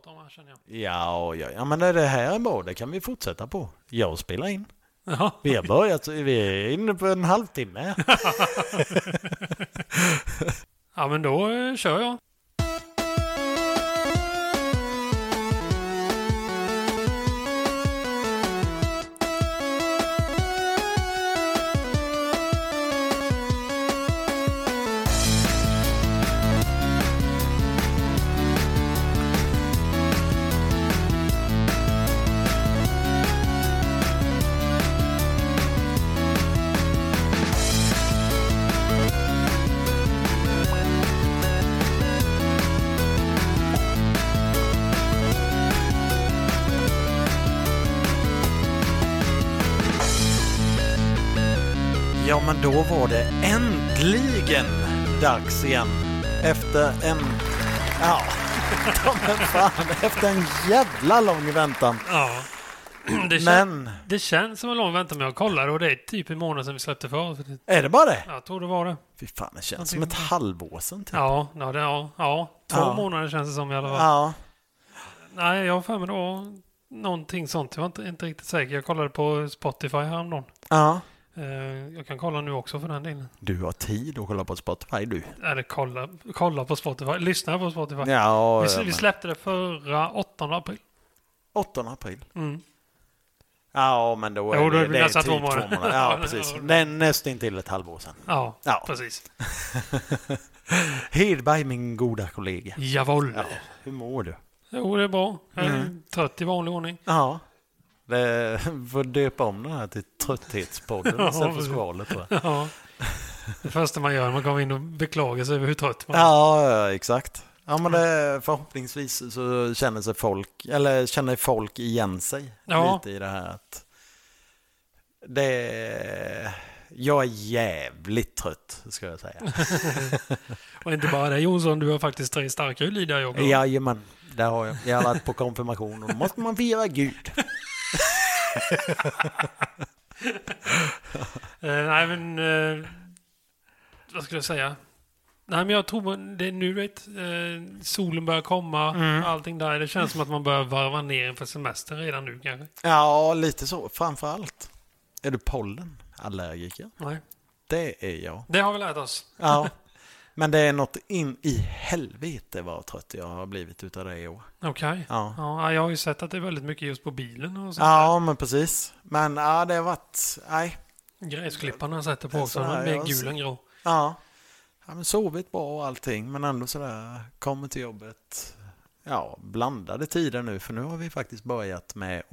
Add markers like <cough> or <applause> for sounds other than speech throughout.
bra känner jag. Ja, ja, ja, men det det här är bra. Det kan vi fortsätta på. Jag spelar in. Ja. Vi har börjat, vi är inne på en halvtimme. ja, men då eh, kör jag. <laughs> Ja, men då var det äntligen dags igen. Efter en... Ja, <laughs> ta mig fan, efter en jävla lång väntan. Ja. Det, kän- Men, det känns som en lång väntan, men jag kollar och det är typ en månad sedan vi släppte för. typ- så det- är det bara det? Jag tror det var det. Fy fan, det känns som ett halvår sedan typ. Ja, ja, det, ja, ja. två Ja. månader känns det som i alla fall. Ja, Nej, jag har för mig det var någonting sånt. Jag var inte, inte riktigt säker. Jag kollade på Spotify häromdagen. ja. Eh, jag kan kolla nu också för den delen. Du har tid att kolla på Spotify du. Eller kolla, kolla på Spotify. Lyssna på Spotify. Ja, vi, ja, s- vi men- släppte det förra 8 april. 8 april. Mm. Ja, men då är Jo, då är det, det det är nästan typ två två månader. månader. <laughs> Ja, precis. Det är nästan till ett halvår sedan. Ja, Ja. precis. Hedberg, min goda kollega. Jawohl. Ja, Mm. hur mår du? Jo, det är bra. Jag är trött i vanlig ordning. Ja. Det, <laughs> får döpa om den här till Trötthetspodden istället för precis. skvalet tror jag. Ja. Det första man gör när man kommer in och beklagar sig över hur trött man är. Ja, ja, exakt. Ja, men det, förhoppningsvis så känner sig folk, eller känner folk igen sig Ja. lite i det här att det, jag är jävligt trött, ska jag säga. Och inte bara det Jonsson, du har faktiskt tre starka öl i dig också. Jajamän, det har jag. Jag har varit på konfirmation och då måste man fira Gud. Eh, nej, men... Eh, vad skulle jag säga? Nej, men jag tror man- det är nu, vet, eh, solen börjar komma, Mm. allting där. Det känns som att man börjar varva ner inför semestern redan nu kanske. Ja, lite så. Framför allt. Är du pollenallergiker? Nej, Det är jag. det har vi lärt oss. Ja. <laughs> Men det är något in i helvete vad trött jag har blivit utav det i år. Okej. Ja. Ja, jag har ju sett att det är väldigt mycket just på bilen och sånt. Ja, men precis. Men ja, det har varit... Nej. Gräsklipparna har jag sett det på Det är också. sådär, De är jag gul ser- än grå. Ja. ja men sovit bra och allting, men ändå sådär. Kommer till jobbet. Ja, blandade tider nu, för nu har vi faktiskt börjat med att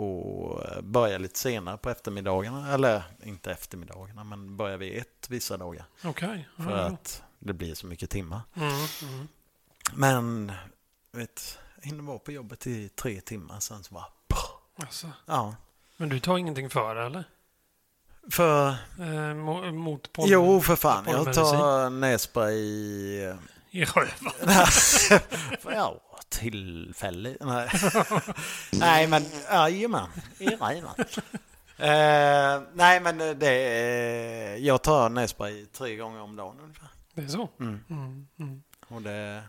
eh, börja lite senare på eftermiddagarna. Eller inte eftermiddagarna, men börjar vi ett vissa dagar. Okej. ja, För ja. att det blir så mycket timmar. Mm, mm. Men, vet, jag hinner vara på jobbet i tre timmar, sen så bara... pff, Alltså. Ja. Men du tar ingenting för det, eller? För... Eh, mo- mot pollen? Jo, för fan. Jag pollenmedicin. tar nässpray... eh, I röven? För, <laughs> ja, tillfälligt. <laughs> Nej, nej men jajamän. Jajamän. Eh, nej, men det är, jag tar nässpray tre gånger om dagen ungefär. Det är så? Mm. Mm, mm. Och det,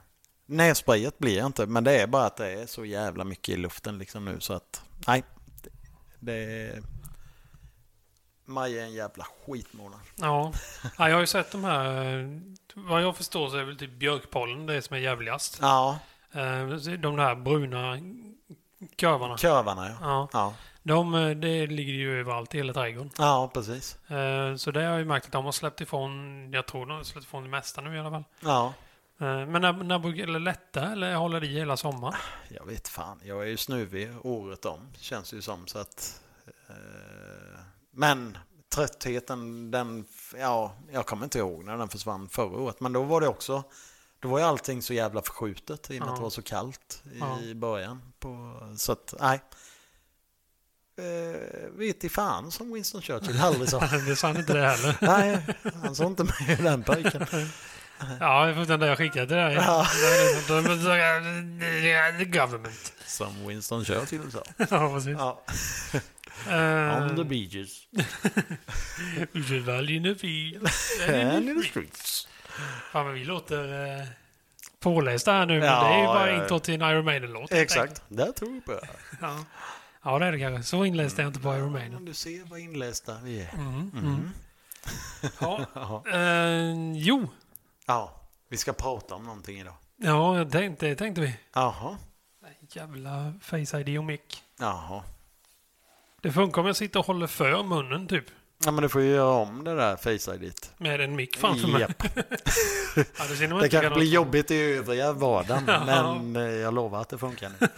nässprayet blir jag inte, men det är bara att det är så jävla mycket i luften liksom nu så att nej. Det, det, maj är en jävla skitmånad. Ja. ja, jag har ju sett de här... eh, Vad jag förstår så är väl typ björkpollen det som är jävligast. Ja, Eh, De där bruna kurvorna. kurvarna ja. Ja, Ja, de, eh, det ligger ju överallt i hela trädgården. ja precis. Eh, Så det har jag ju märkt att de har släppt ifrån, jag tror de har släppt ifrån det mesta nu i alla fall. Ja. Eh, Men när, när brukar det lätta eller håller det i hela sommaren? Jag vet fan, jag är ju snuvig året om, känns det ju som. Så att, eh, men tröttheten, den, ja, jag kommer inte ihåg när den försvann förra året. Men då var det också, då var ju allting så jävla förskjutet i och med Ja. att det var så kallt i Ja. början. På, så att, nej. Eh, vet i fan som Winston Churchill aldrig <laughs> sa. Det är sant inte det heller. nej, han sa inte med i den pojken. Ja, för den där jag skickade till dig. Ja. The government. <laughs> Som Winston Churchill sa. Ja, precis. Ja. On the Uh, beaches the <laughs> value in the field. and in the streets. Fan, men vi låter... eh, pålästa här nu, men Ja, det är ju bara ja, ja. intro till en Iron Maiden-låt. helt Exakt, där tror jag på det. enkelt. Ja. ja, det är det kanske. Så inläst är jag inte på Iron Ja, Maiden. Du ser vad inlästa vi är. Mm, mm. Ja. Ja. Eh, jo, ja, vi ska prata om någonting idag. ja, jag tänkte, det tänkte vi. Jaha, Nej, Jävla Face ID och mick. jaha. Det funkar om jag sitter och håller för munnen typ. Ja, men du får ju göra om det där Face ID. -t. Med en mick framför mig. Japp. Ja, det ser nog Det inte kanske likadant blir ut. jobbigt i <laughs> övriga vardagen, Ja. men eh, jag lovar att det funkar nu.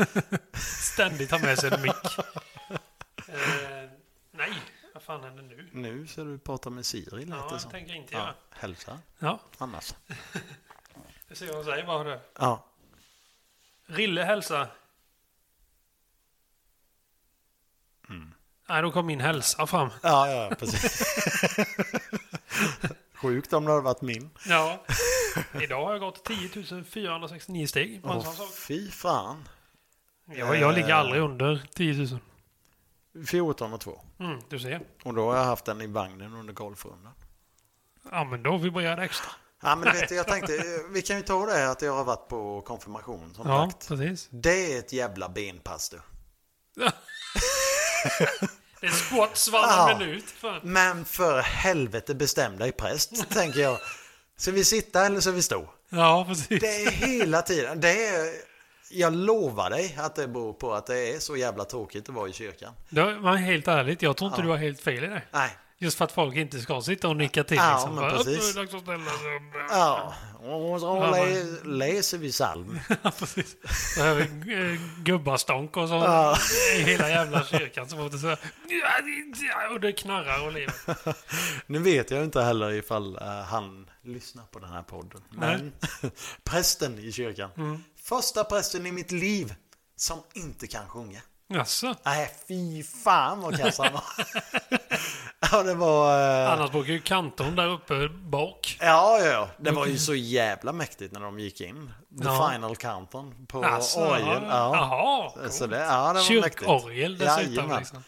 Ständigt ha med sig en mick. Eh, nej, vad fan händer nu? Nu ska du prata med Siri Ja, lite jag så. tänker inte Ja, göra. hälsa Ja, annars. vi ser vad hon säger bara. Det. Ja, Rille hälsa. Mm. Nej, då kom min hälsa fram. ja, ja precis. <laughs> Sjukt om det hade varit min. <laughs> Ja. Idag har jag gått 10 469 steg. på en sån Åh, sak. fy fan. Jag, jag ligger eh. aldrig under 10 000. 14 och 2. Mm, du ser. Och då har jag haft den i vagnen under golfrundan. Ja, men då vibrerar det extra. Ja, men vet du, jag tänkte, eh, vi kan ju ta det här att jag har varit på konfirmation som Ja, sagt. <laughs> precis. Det är ett jävla benpass du. Det är squats varannan Ja. minut. Fan. Men för helvete bestäm dig präst, tänker jag. Ska vi sitta eller ska vi stå? Ja, precis. Det är hela tiden. Det är, jag lovar dig att det beror på att det är så jävla tråkigt att vara i kyrkan. Då, men helt ärligt, jag tror inte du har helt fel i det. Nej. Just för att folk inte ska sitta och nicka till. Ja, liksom. men Bara, precis. "Upp, nu är det dags att ställa sig upp." Ja, och så lä- läser vi psalm. <laughs> Ja, precis. Så hör vi eh, gubbastånk och så i hela jävla kyrkan som åter så här, Och det knarrar och lever. Nu vet jag inte heller ifall eh, han lyssnar på den här podden. Men <laughs> prästen i kyrkan. Mm. Första prästen i mitt liv som inte kan sjunga. Jaså? Nej, fy fan vad kass <laughs> han var. ja, det var... eh, Annars brukar ju kantorn där uppe bak. Ja, ja, ja. Det var ju så jävla mäktigt när de gick in. The Ja. final countdown på Alltså, orgeln. Ja. Jaha. coolt. Så det, ja, det var Kyrkorgel mäktigt. dessutom. Jajamän. Liksom.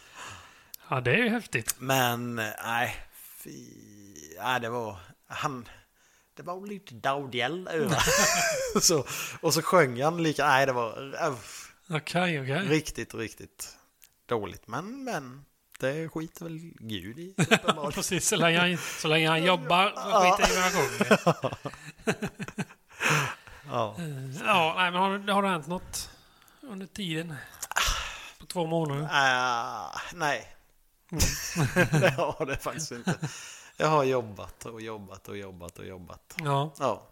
Ja, det är ju häftigt. Men eh, nej, fy... Nej, det var... Han... Det var lite Daudiel över. <laughs> så, och så sjöng han lika... Nej, det var öff, Okej, okej. riktigt, riktigt dåligt. Men, men. Det skiter väl Gud i. Ja, <laughs> uppenbarligen. Precis, så länge han, så länge han jobbar så skiter i vad han sjunger. ja. Ja, nej, men har, det- har det hänt något under tiden? På två månader? Ah, nej. Mm. <laughs> det har det faktiskt inte. Jag har jobbat och jobbat och jobbat och jobbat. Ja. Ja.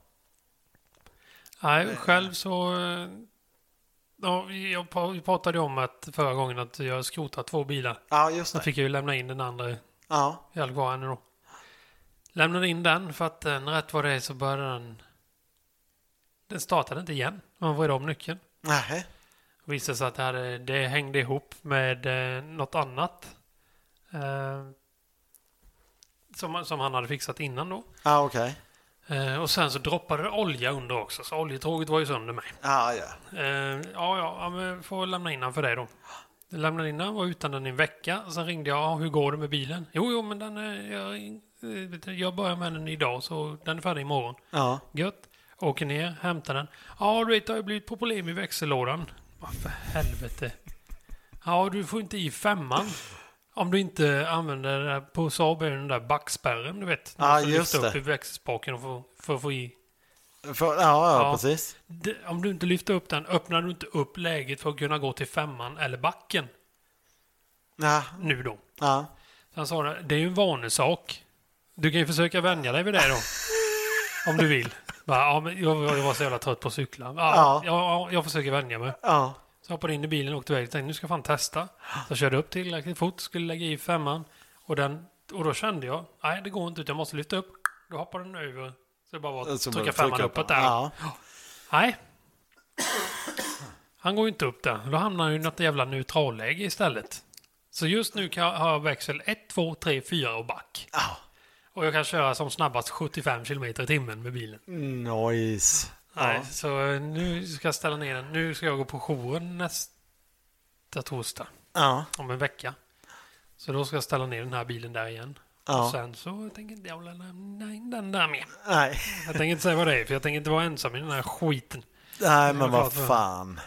Nej, själv så... eh, Ja, jag pra- vi pratade ju om att förra gången att jag skrotat två bilar. Ja, just Sen det. fick jag ju lämna in den andra Ja. jag hade kvar ännu då. Lämnade in den för att den rätt vad det är så började den... Den startade inte igen. Man vred om nyckeln. Nej. Det visade sig att det, hade, det hängde ihop med eh, något annat. Eh, som, som han hade fixat innan då. Ja, okej. Eh, och sen så droppade det olja under också, så oljetåget var ju sönder mig. Ja, ja. Eh, ja, ja, ja, men får lämna in den för dig då. Jag lämnade in den, var utan den i en vecka. Sen ringde jag, "Ja, hur går det med bilen? Jo, jo, men den är, jag, eh, vet du, jag börjar med den idag, så den är färdig imorgon. Ja. Gött. Åker ner, hämtar den. Ja, du vet, det har ju blivit problem i växellådan. Vad för helvete. Ja, du får inte i femman. Om du inte använder det där- på Saab är det den där backspärren, du vet. när Ja, man ska just lyfta upp det. i växelspaken och få- för att få i. För, ja, ja, Ja. precis. Det- Om du inte lyfter upp den öppnar du inte upp läget för att kunna gå till femman eller backen. Ja. Nu då. Ja. Han sa det, det är ju en vanesak. Du kan ju försöka vänja dig vid det då. om du vill. Bara, ja, men jag, jag var så jävla trött på att cykla. Ja, Ja. ja. ja, jag försöker vänja mig. Ja. Så hoppade jag in i bilen och åkte iväg. Tänkte, nu ska jag fan testa. Så jag körde upp tillräckligt fort, skulle lägga i femman. Och, den, och då kände jag, nej det går inte ut, jag måste lyfta upp. Då hoppar den över. Så det bara var att Så bara trycka femman trycka upp uppåt den. där. Ja. Nej. Han går ju inte upp där. Då hamnar han ju i något jävla neutralläge istället. Så just nu kan jag, har jag växel 1, 2, 3, 4 och back. Ja. Och jag kan köra som snabbast 75 km i timmen med bilen. Nice. Nej, Ja. så eh, nu ska jag ställa ner den. Nu ska jag gå på jouren nästa torsdag. Ja. Om en vecka. Så då ska jag ställa ner den här bilen där igen. Och Ja. sen så tänker inte jag lämna in den där mer. Nej. Jag tänker inte säga vad det är, för jag tänker inte vara ensam i den här skiten. Nej, var men klart vad för. fan.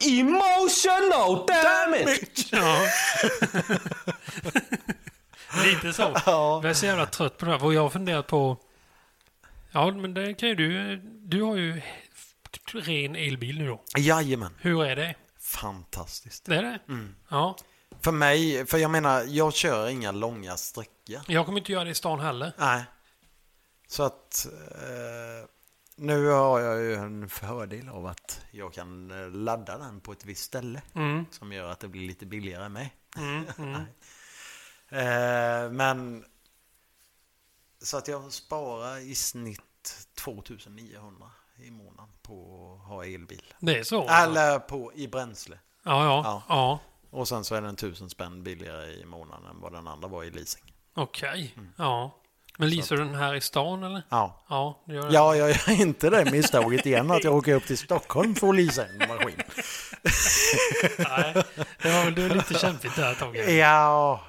Emotional damage! Ja. <laughs> Lite så. Ja. Jag är så jävla trött på det här. Vad jag har funderat på... Ja, men det kan ju du... Du har ju ren elbil nu då. Jajamän. Hur är det? Fantastiskt. Det är det? Mm. Ja. För mig, för jag menar, jag kör inga långa sträckor. Jag kommer inte göra det i stan heller. Nej. Så att eh, nu har jag ju en fördel av att jag kan eh, ladda den på ett visst ställe. Mm. Som gör att det blir lite billigare än mig. Mm. Mm. Eh, men så att jag sparar i snitt 2900 i månaden på att ha elbil. Det är så? Eller på, i bränsle. Ja, ja. ja. Ja. Och sen så är den 1000 spänn billigare i månaden än vad den andra var i leasing. Okej. Mm. Ja. Men leasar du den här i stan eller? Ja. Ja, det gör du. Ja, jag gör inte det misstaget igen att jag åker upp till Stockholm för att leasa en maskin. Nej, det var väl det var lite kämpigt där ett tag. <laughs> Ja,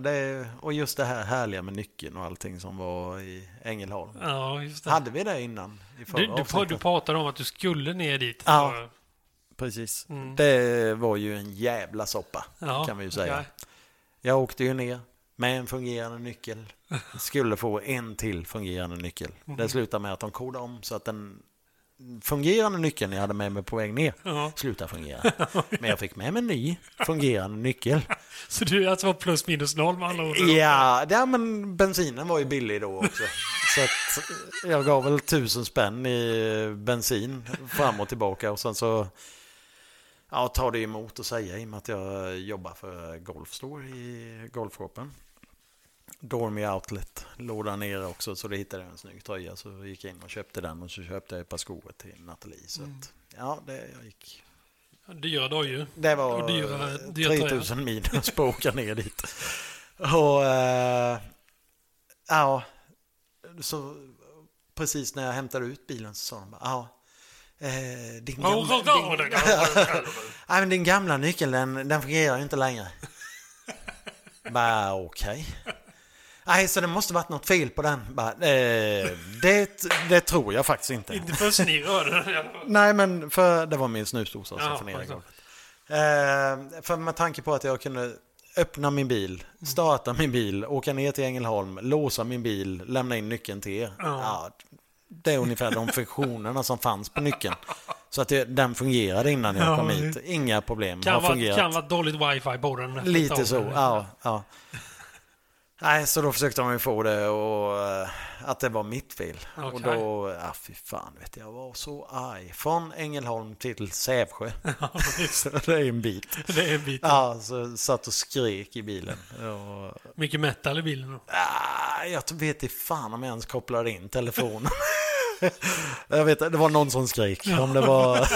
det, och just det här härliga med nyckeln och allting som var i Ängelholm. Ja, just det. Hade vi det innan? I förra Du, du, pra- avsnittet? du pratade om att du skulle ner dit. Ja. Precis. Mm. Det var ju en jävla soppa, Ja, kan vi ju säga. okej. Jag åkte ju ner med en <laughs> fungerande nyckel. Skulle få en till fungerande nyckel. Mm. Det slutade med att de kodade om så att den fungerande nyckeln jag hade med mig på väg ner Ja. <laughs> slutade fungera. Men jag fick med mig en ny fungerande nyckel. Så du alltså var plus minus noll med alla ord? Ja, ja, men bensinen var ju billig då också. Så att eh, jag gav väl tusen spänn i eh, bensin fram och tillbaka och sen så ja, tar det emot att säga i och med att jag jobbar för Golfstore i golfshopen. Dormy Outlet låg där nere också så det hittade jag en snygg tröja så gick jag in och köpte den och så köpte jag ett par skor till Nathalie. Så att, ja, det, jag gick. Dyra dojor. det var Och dyra- dyra tröjor. 3000 minus på att åka ner dit. Och eh, ja, så precis när jag hämtade ut bilen så sa de bara, ja, eh, din, Ja, ja, gamla, ja, din, det kan- nej, men din gamla nyckel den, den fungerar ju inte längre. bara okej. Nej, så det måste varit något fel på den. Bara, eh, det, det tror jag faktiskt inte. Inte först ni rörde den i alla fall. Nej, men för det var min snusdosa som Ja, fönerade alltså. golvet. Eh, för med tanke på att jag kunde öppna min bil, Mm. starta min bil, åka ner till Ängelholm, låsa min bil, lämna in nyckeln till er. Ja. Ja, det är ungefär de funktionerna som fanns på nyckeln. Så att det, den fungerade innan jag Ja, kom det- hit. Inga problem, har Kan vara, fungerat. kan vara dåligt wifi på den. Lite så, ja. ja. Nej, så då försökte de ju få det och eh, att det var mitt fel. Och Okej. då, ja fy fan vet jag, jag var så arg. Från Ängelholm till <laughs> Sävsjö. <laughs> visst. det är en bit. Det är en bit. Ja, så satt och skrek i bilen. Och, Mycket metal i bilen. då. ah, jag vet inte fan om jag ens kopplade in telefonen. <laughs> jag vet det var någon som skrek. Om det var...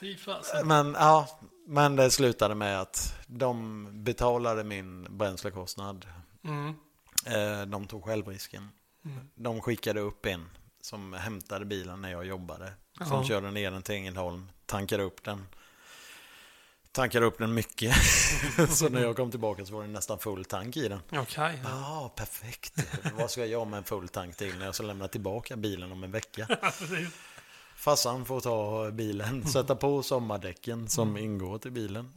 Fy fasen. Men, ja, men det slutade med att de betalade min bränslekostnad. Mm. Eh, De tog självrisken. De skickade upp en som hämtade bilen när jag jobbade. Som Ja. körde ner den till Ängelholm, tankade upp den. Tankade upp den mycket. så när jag kom tillbaka så var det nästan full tank i den. Okej. ja. Ja, perfekt. Vad ska jag göra med en full tank till när jag ska lämna tillbaka bilen om en vecka? Precis. Farsan får ta bilen, sätta på sommardäcken som ingår till bilen.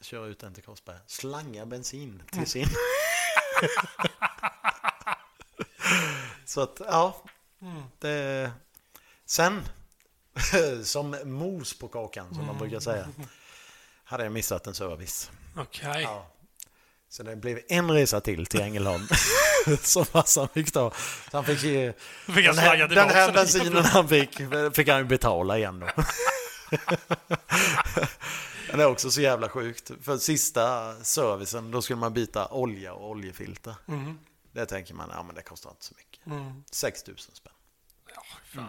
Köra ut den till Korsberg. Slanga bensin till sin. <laughs> Så att, ja. Det... Sen, <laughs> som mos på kakan som man brukar säga, hade jag missat en service. Okej. Ja. Så det blev en resa till till Ängelholm <laughs> som farsan fick ta. Så han fick ge... Fick jag Den här, slagga den tillbaka här den? bensinen han fick, fick han ju betala igen då. Men <laughs> det är också så jävla sjukt. För sista servicen, då skulle man byta olja och oljefilter. Mm. Det tänker man, ja men det kostar inte så mycket. Mm. 6 000 spänn. Ja, fan.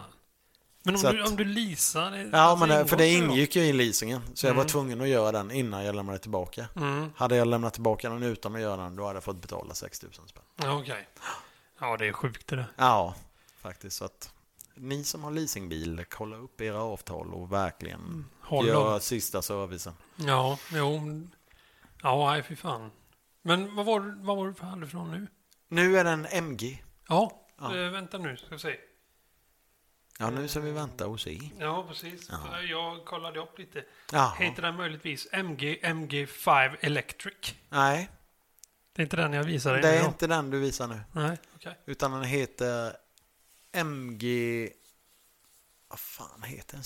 Men om Så du, att- om du leasar... det- Ja, alltså men det, för det Mm. ingår ingick ju i leasingen. Så jag var tvungen att göra den innan jag lämnade tillbaka. då. Mm. Hade jag lämnat tillbaka den utan att göra den, då hade jag fått betala 6 000 spänn. Ja, okej. Ja, det är sjukt det där. Ja, faktiskt. Så att ni som har leasingbil, kolla upp era avtal och verkligen Håll gör dem. sista servicen. Ja, jo. Ja, nej, fy fan. Men vad var, vad var du hade från nu? Nu är den MG. Ja, Ja. Eh, vänta nu ska vi se. Ja, nu ska vi vänta och se. Ja, precis. Eh, Ja. Jag kollade upp lite. Jaha. Heter den möjligtvis MG, MG5 Electric? Nej, Det är inte den jag visade det dig är idag. inte den du visar nu. Nej, okej. Utan den heter MG... Vad fan heter den?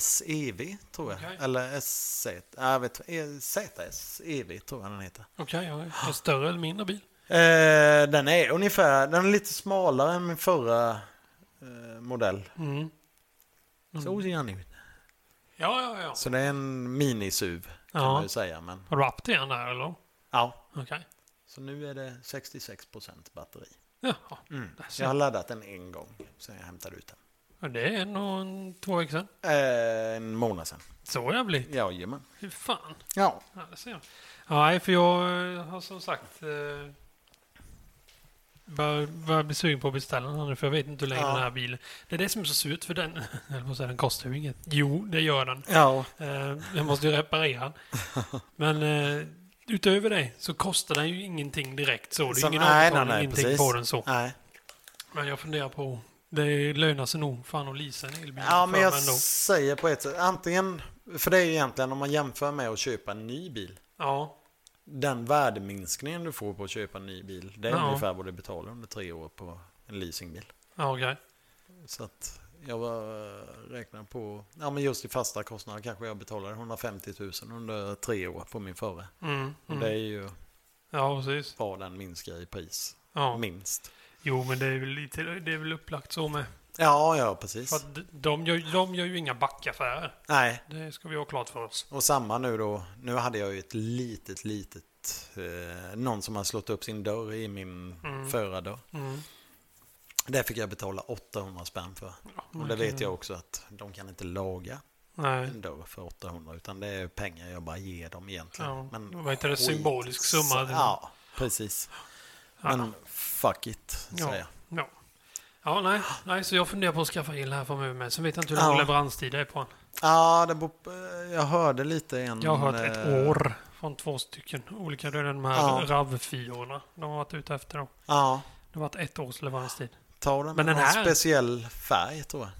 ZSEV tror jag. Okej. Eller SZ... Jag vet eh, ZSEV tror jag den heter. Okej, ja. En större eller mindre bil? Eh, den är ungefär... Den är lite smalare än min förra eh, modell. Mm. Så ser den ut. Ja, ja, ja. Så det är en minisuv kan Ja. man ju säga. Men, Har du upp till den där eller? ja. Okej. Så nu är det 66% batteri. Jaha. Där ser Mm. Jag har laddat den en gång sen jag hämtade ut den. Ja, det är nog en, två veckor sedan. Eh, en månad sen. Så jag blir. Jajamän. Hur fan? Ja. Ja, det ser jag. Nej, för jag eh, har som sagt eh, bör, börjar bli sugen på att beställa den här nu, för jag vet inte hur länge Ja. den här bilen... Det är det som är så surt, för den, <laughs> jag höll på att säga, den kostar ju inget. Jo, det gör den. Ja. Eh, jag måste ju reparera <laughs> den. Men eh, utöver det så kostar den ju ingenting direkt så. Det är Så- ingen nej, nej, avbetalning, nej, ingenting precis. på den så. Nej. Men jag funderar på, det lönar sig nog fan att leasa en elbil Ja, Mm. för men mig jag ändå. säger på ett sätt. Antingen, för det är ju egentligen om man jämför med att köpa en ny bil. Ja, Den värdeminskningen du får på att köpa en ny bil. Det är Ja. ungefär vad du betalar under tre år på en leasingbil. ja okej. Så att jag var- eh, räknar på, ja men just i fasta kostnader kanske jag betalar 150 000 under tre år på min förra. Mm, Och Det är mm. ju Ja, precis. vad den minskar i pris. Ja. Minst. Jo, men det är väl, lite, det är väl upplagt så med. Ja, ja precis. För att d- de, gör, de gör ju inga backaffärer. Nej, Det ska vi ha klart för oss. och samma nu då. Nu hade jag ju ett litet, litet... Eh, någon som har slått upp sin dörr i min Mm. förra dörr. Mm. Det fick jag betala 800 spänn för. Och det vet jag också att de kan inte laga Nej. en dörr för 800 utan det är pengar jag bara ger dem egentligen. Ja, Men vad heter det? skit- Symbolisk summa. liksom. Ja, precis. Men fuck it, säger jag. Ja. Ja, nej. nej. Så jag funderar på att skaffa el här framöver med. Sen vet jag inte hur lång Ja. Mm, leveranstid det är på den. Ja, det beror på- jag hörde lite en... Jag har hört ett eh, år från två stycken olika. Det är de här Ja. RAV4orna de har varit ute efter. Dem. Ja, Det har varit ett års leveranstid. ta den Men med den någon här- speciell färg tror jag.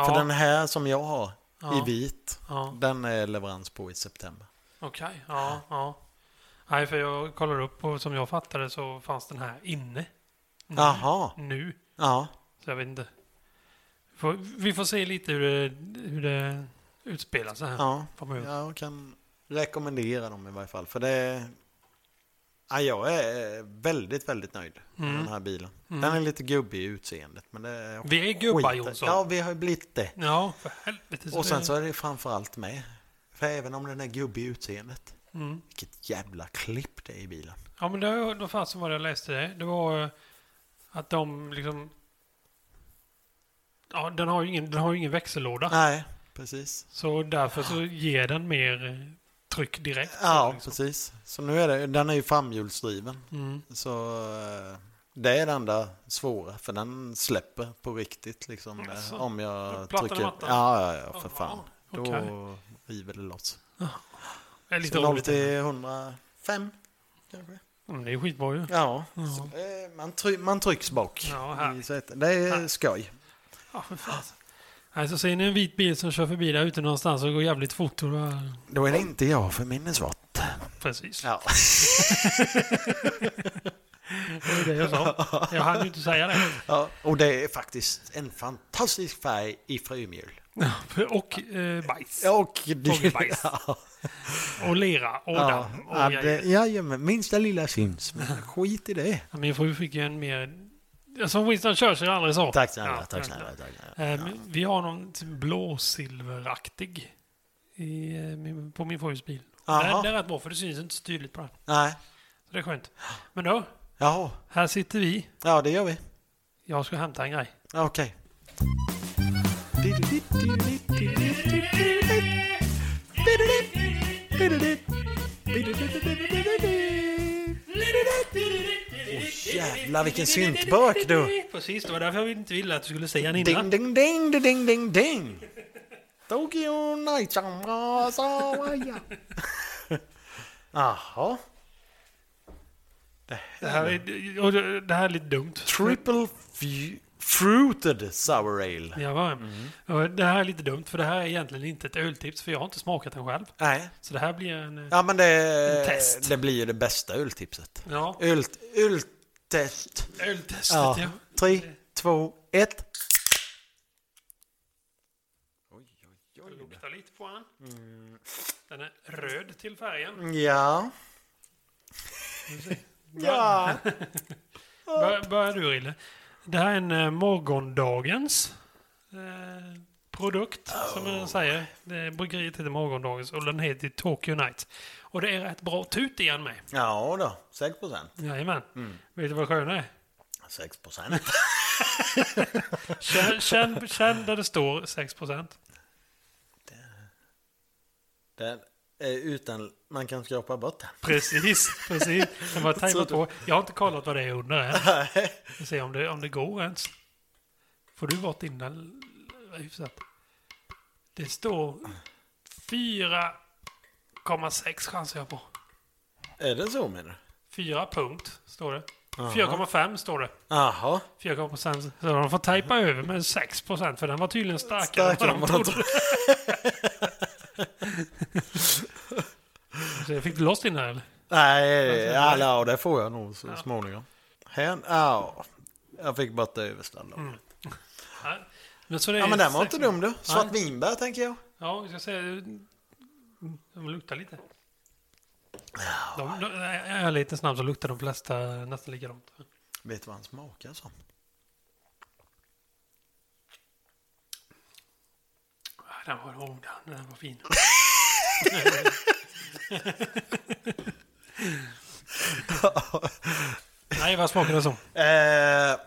Ja, För den här som jag har ja, i vit, ja. den är leverans på i september. Okej, ja, ja. Nej, för jag kollar upp och som jag fattade så fanns den här inne. Nu. Jaha, Nu. ja. Så jag vet inte. Får, vi får se lite hur det, hur det utspelar sig här ja. framöver. Jag kan rekommendera dem i varje fall. För det är... Ja, jag är väldigt, väldigt nöjd med Mm. den här bilen. Mm. Den är lite gubbig i utseendet, men det är... Vi är gubbar skit- Jonsson. Ja, Ja. vi har ju blivit det. för helvete. Och sen det- så är det framförallt med. För även om den är gubbig i utseendet, Mm. vilket jävla klipp det är i bilen. Ja, men det var fasen vad jag läste det. Det var eh, att de liksom... Ja, den har ju ingen, den har ju ingen växellåda. Nej, precis. Så därför så ger den mer eh, tryck direkt. Ja, liksom. precis. Så nu är det, den är ju framhjulsdriven. Mm. Så eh, det är det enda svåra, för den släpper på riktigt liksom. eh, Jaså? Om Då jag plattar trycker... mattan? Ja, ja, ja, för Ja, fan. Då okej. river det loss. Det är Så lite 0 roligt. till 105 kanske? Mm, det är skitbra ju. Ja, Ja. Så, eh, man, try- man trycks bak. Ja, i härligt. sätet. det är Härligt. skoj. Ja, för fan. Nej, så ser ni en vit bil som kör förbi där ute någonstans och går jävligt fort. Och då... Då är det inte jag för min är svart. Precis. Ja. Det var det jag sa. Jag hann ju inte säga det. <laughs> Ja, och det är faktiskt en fantastisk färg i frömjöl. Och eh, bajs. Och Och bajs. <laughs> Ja. Och lera. Och Ja, damm. Och ja, grejer. det, jajamän, minsta lilla syns. Men skit i det. Ja, Min fru fick ju en mer... Som Winston Churchill aldrig sa. Tack snälla, Ja, tack ja, snälla. Tack, ja. Eh, snälla. men Vi har någon typ blåsilveraktig i, eh, min- på min frus bil. Jaha. Den, den är rätt bra för det syns inte så tydligt på den. Nej, Så det är skönt. Men då, jaha. här sitter vi. Ja, det gör vi. Jag ska hämta en grej. Okej. Åh, jävlar vilken syntbök du! Precis, det var därför jag inte ville att du skulle säga den Ding, innan. ding, ding, ding, ding, ding, ding! Tokyo Night <laughs> Samurasawaya! Jaha. Det Det här är, och det- det här är lite dumt. Triple fu- fruited sour ale. Ja, va? Mm. Och Det här är lite dumt, för det här är egentligen inte ett öltips, för jag har inte smakat den själv. Nej. Så det här blir en... eh, Ja men En det, test. det blir ju det bästa öltipset. Ja, Öl, öltest. öltestet Ja. Mm. ja. Tre, två, ett. Jag luktar lite på den. Den är röd till Mm. färgen. Ja. Ja. Bör, börjar du, Rille. Det här är en eh, morgondagens eh, produkt, som man säger. Det, bryggeriet heter Morgondagens och den heter Tokyo Night. Och det är rätt bra tut i den med. Ja då, 6 procent. Jajamän. Vet du vad skön är? 6 procent. Känn, känn, känn där det står 6 procent. Den är utan, man kan skrapa bort den. Precis, precis. Den var Så tajmad du- på. Jag har inte kollat vad det är under än. Vi ser om det, om det går ens. Får du bort in den l- hyfsat? Det står 4,6 chansar jag på. Är det så menar du? 4 punkt står det. 4,5 står det. Jaha. 4 procent. Så de får tejpa över med 6 procent för den var tydligen starkare än Starkare vad de än vad de trodde. <laughs> Så jag fick du loss din här eller? Nej, ja, ja, det får jag nog så småningom. Hän, ja. Jag fick bara det översta. då. Nej. Men så det Ja är men den var Mm. sex- inte dum du. Svartvinbär tänker jag. Ja, vi ska se. De luktar lite. De, de, är jag lite snabb så luktar de flesta nästan likadant. Vet du vad han smakar som? Ah, Den var, oh, den, den var fin. Nej, vad smakar det som? Eh,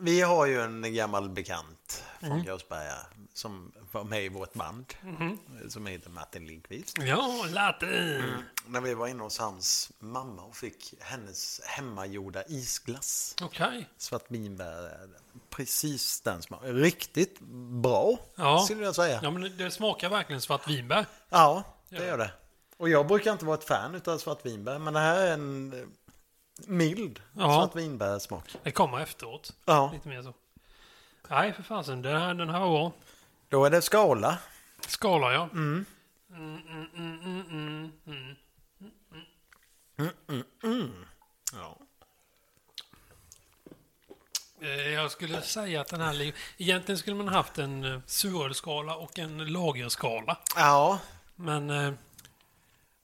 vi har ju en gammal bekant från Mm. Görsberga som var med i vårt band. Mhm. Som heter Martin Lindqvist. Ja, latte. När vi var inne hos hans mamma och fick hennes hemmagjorda isglass. Okej. Svart vinbär. Precis den smaken. Riktigt bra Ja. skulle jag säga. Ja, men det smakar verkligen svart vinbär. Ja, det gör det. Och jag brukar inte vara ett fan av svartvinbär, men det här är en eh, mild Ja. svartvinbärsmak. Det kommer efteråt. Ja, Lite mer så. Nej, för fasen. Den här, den här var bra. då är det skala. Skala, ja. Mm. Mm, mm, mm, mm, mm. Ja. Eh, Jag skulle säga att den här... li- Egentligen skulle man haft en eh, surölskala och en lagerskala. ja, Men... eh, <laughs>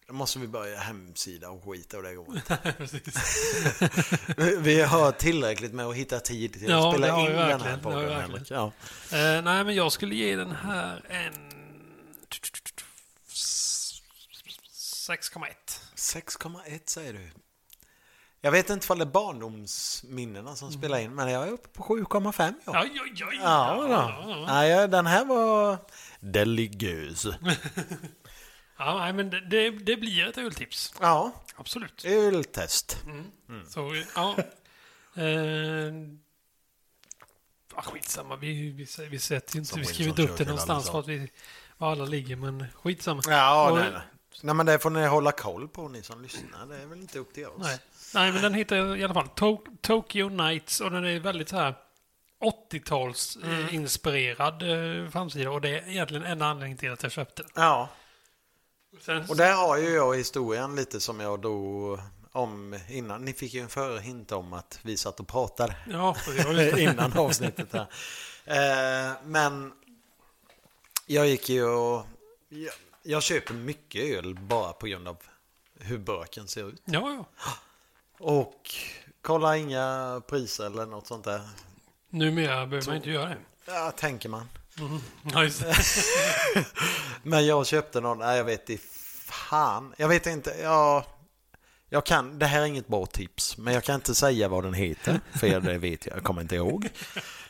då måste vi börja hemsida och skita och det går precis. Vi har tillräckligt med att hitta tid till Ja, att det spela har in vi den här verkligen, det har vi podden. verkligen. Henrik. Ja. Eh, Nej, men jag skulle ge den här en... 6,1. 6,1 säger du. Jag vet inte om det är barndomsminnena som Mm. spelar in, men jag är uppe på 7,5. Ja. Oj, oj, oj. Ja, ja, då. ja. Nej, ja, den här var deligös. Ja, nej, men det- det, det blir ett öltips. Ja, Absolut. öltest. Mm. Så, ja. Eh, ah, skitsamma, vi, vi, vi sätter ju inte... Som Vi Winston skriver upp det Churchill någonstans aldrig för sa. att vi... Var alla ligger, men skitsamma. Ja, Och- nej, nej. nej, men det får ni hålla koll på ni som lyssnar. Det är väl inte upp till oss. Nej. Nej, men den heter i alla fall to- Tokyo Nights och den är väldigt så här Mm. 80-talsinspirerad eh, framsida och det är egentligen en anledning till att jag köpte den. Ja, Sen, och där har ju jag historien lite som jag då om innan. Ni fick ju en förhint om att vi satt och pratade ja, det var just det. <laughs> innan avsnittet här. Eh, Men jag gick ju och... jag- Jag köper mycket öl bara på grund av hur burken ser ut. ja, ja. Och kolla inga priser eller något sånt där. Numera behöver man inte göra det. <laughs> Ja, tänker man. Ja, just det. Men jag köpte någon, nej jag vet i fan. Jag vet inte, jag, jag kan, det här är inget bra tips. Men jag kan inte säga vad den heter, för det vet jag, jag kommer inte ihåg.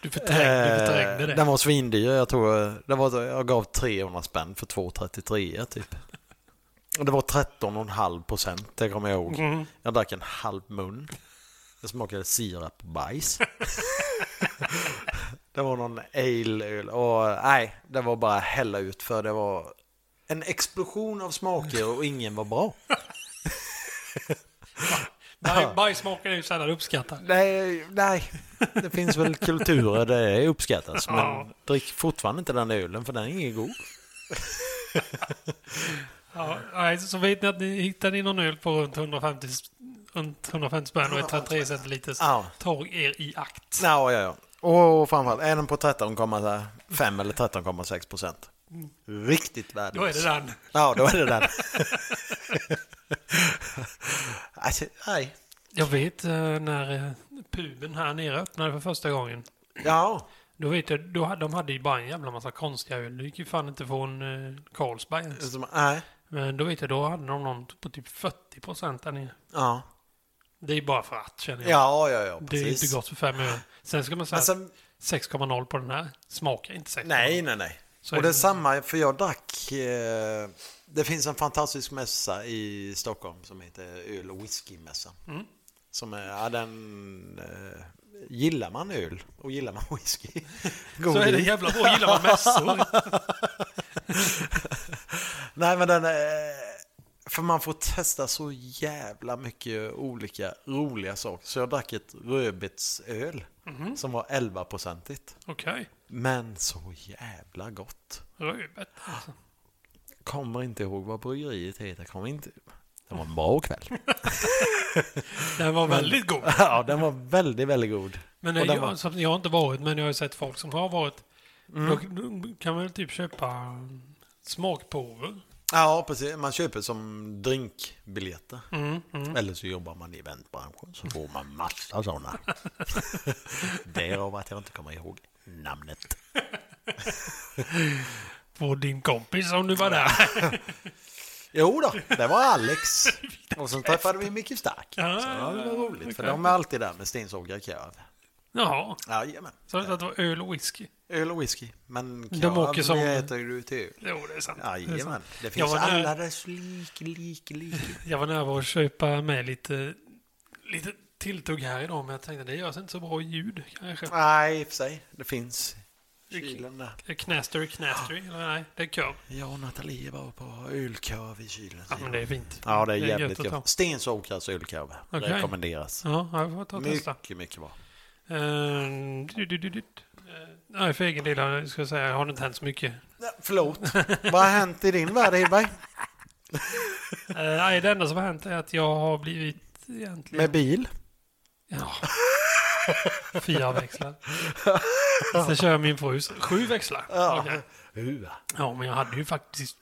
Du förträngde, du förträngde Eh, det. Den var svindyr, jag tror, det var, jag gav 300 spänn för 2,33 typ. Och det var 13,5 procent, det kommer jag ihåg. Jag drack en halv mun. Det smakade sirap och bajs. <laughs> det var någon ale-öl. Och nej, det var bara hälla ut för det var en explosion av smaker och ingen var bra. Baj, bajsmaken är ju sällan uppskattad. Nej, nej. Det finns väl kulturer där det uppskattas. Men Ja. drick fortfarande inte den ölen för den är ingen god. Ja, nej, så vet ni att ni hittar ni någon öl på runt 150, runt 150 spänn och ett 33 centiliters. Ja. Ta er i akt. Ja, ja, ja. Och framförallt, är den på 13,5 eller 13,6 procent? Riktigt Mm. Då är värdelös. det den. Ja, då är det den. <laughs> alltså, nej. Jag vet eh, när eh, puben här nere öppnade för första gången. Ja, Då vet jag, då, hade- de hade ju bara en jävla massa konstiga öl. Det gick ju fan inte från eh, Carlsberg ens. som, nej. Men då vet jag, då hade de någon på typ 40 procent där nere. Ja. Det är ju bara för att känner jag. ja, ja, ja, det är ju inte precis. gott för fem öl. Sen ska man säga Men sen, att 6,0 på den här smakar inte 6,0. nej, nej, nej. Så är och det är det. samma, för jag drack... Eh, det finns en fantastisk mässa i Stockholm som heter Öl och whiskymässan. Mm. Som är, ja, den... Eh, gillar man öl och gillar man whisky. God <laughs> Så är det jul. jävla bra. Gillar man mässor? <laughs> Nej, men den... eh, För man får testa så jävla mycket olika roliga saker. Så jag drack ett rödbetsöl Mhm. som var 11-procentigt. Okej. Men så jävla gott. Rödbett alltså. Kommer inte ihåg vad bryggeriet heter. Kommer inte... Det var en bra kväll. Den var väldigt <laughs> god. Ja, den var väldigt, väldigt god. Men Och jag, den var- Mm. som jag har inte varit, men jag har ju sett folk som har varit. Då, då kan man väl typ köpa smakprover. Ja, precis. Man köper som drinkbiljetter. Mm, mm. Eller så jobbar man i eventbranschen så får man massa sådana. Därav att jag inte kommer ihåg namnet. På din kompis om du var där. Jo då, det var Alex. Och sen träffade vi Micke Stark. <laughs> Så Ja, ja, det var roligt, för okej. de är alltid där med stensågar och kräv. Jaha, Jajamän. så jag sa att det var öl och whisky? Öl och whisky. Men De krav, åker som- det äter du till öl. Jo, det är sant. det är Jajamän. sant. Det Jag finns var där- alla dess lik, lik, lik. Jag var nära att köpa med lite, lite tilltugg här idag, men jag tänkte det görs inte så bra ljud kanske. Nej, i och för sig. Det finns. Kylen där. Knastery, knastery. Eller nej, det är kör. Jag och Nathalie var på ölkorv i kylen. Ja, men det är fint. Ja, det är gött jävligt att ta. gött. Stensåkras ölkorv Okej. rekommenderas. Ja, jag får ta och testa. Mycket, mycket bra. Ehm, du, du, du, du. Eh, Nej, för egen del eh, ska jag säga, har det inte hänt så mycket. Nej, Förlåt, <laughs> vad har hänt i din värld Hedberg? Eh, Nej, det enda som har hänt är att jag har blivit Med egentligen... bil? Ja. Fyra växlar. Sen kör min frus sju växlar. Ja. Okej. Hua. ja, men jag hade ju faktiskt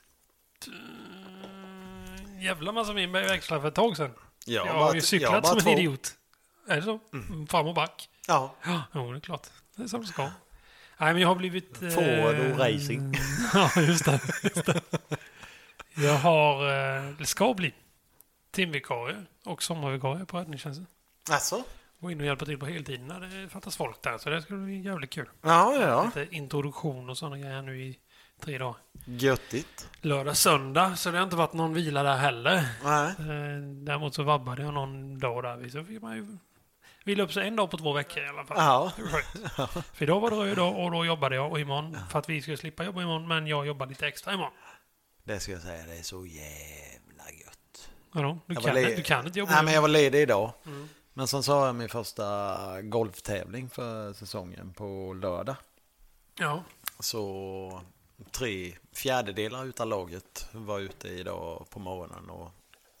eh, jävla massa mer växlar för ett tag sedan. Jag jag har har bara- ju jag har cyklat bara som en två. Mm. idiot. Är det så? Fram och back. Ja, Ja, jo, det är klart. Det är som det ska. Nej, men jag har blivit... eh, Ford och racing. <laughs> ja, just det. Just det. Jag har... Eh, det ska bli timvikarie och sommarvikarie på räddningstjänsten. alltså? Gå in och hjälpa till på heltid när det fattas folk där. Så det skulle bli jävligt kul. Ja, ja. Lite introduktion och sådana grejer nu i tre dagar. Göttigt. Lördag, söndag, så det har inte varit någon vila där heller. Nej. Eh, Däremot så vabbade jag någon dag där. Så fick man ju vila upp sig en dag på två veckor i alla fall. Ja. Det var <laughs> skönt. För idag var det röd dag och då jobbade jag och imorgon för att vi skulle slippa jobba imorgon men jag jobbar lite extra imorgon. Det ska jag säga, det är så jävla gött. Vadå? Du, Jag kan, var le- inte- du kan inte jobba Nej, imorgon. men jag var ledig idag. Mm. Men sen så har jag min första golftävling för säsongen på lördag. Ja. Så tre fjärdedelar utav laget var ute idag på morgonen och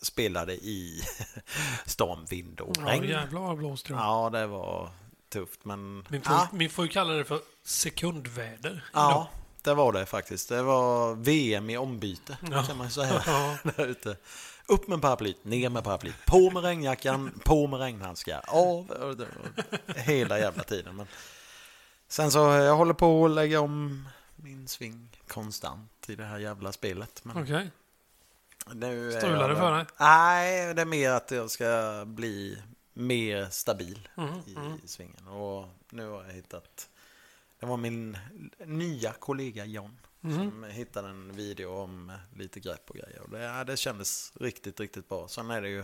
spelade i <laughs> storm, vind och ja, regn. jävlar vad blåst det var. Ja, det var tufft men... Min, fru, Ja, min fru kallade det för sekundväder. ja, det var det faktiskt. Det var VM i ombyte Ja. kan man säga. <laughs> Ja. <laughs> Där ute. Upp med paraplyt, ner med paraplyt, på med regnjackan, på med regnhandskar, av och- och- och- hela jävla tiden. Men sen så eh, jag håller på att lägga om min sving konstant i det här jävla spelet. Men Okej. nu är Strular jag det väl- för dig? Nej, det är mer att jag ska bli mer stabil Mhm, i mhm. svingen. Och nu har jag hittat... Det var min nya kollega John Mm. som hittade en video om lite grepp och grejer. Och det, ja, det kändes riktigt, riktigt bra. Sen är det ju...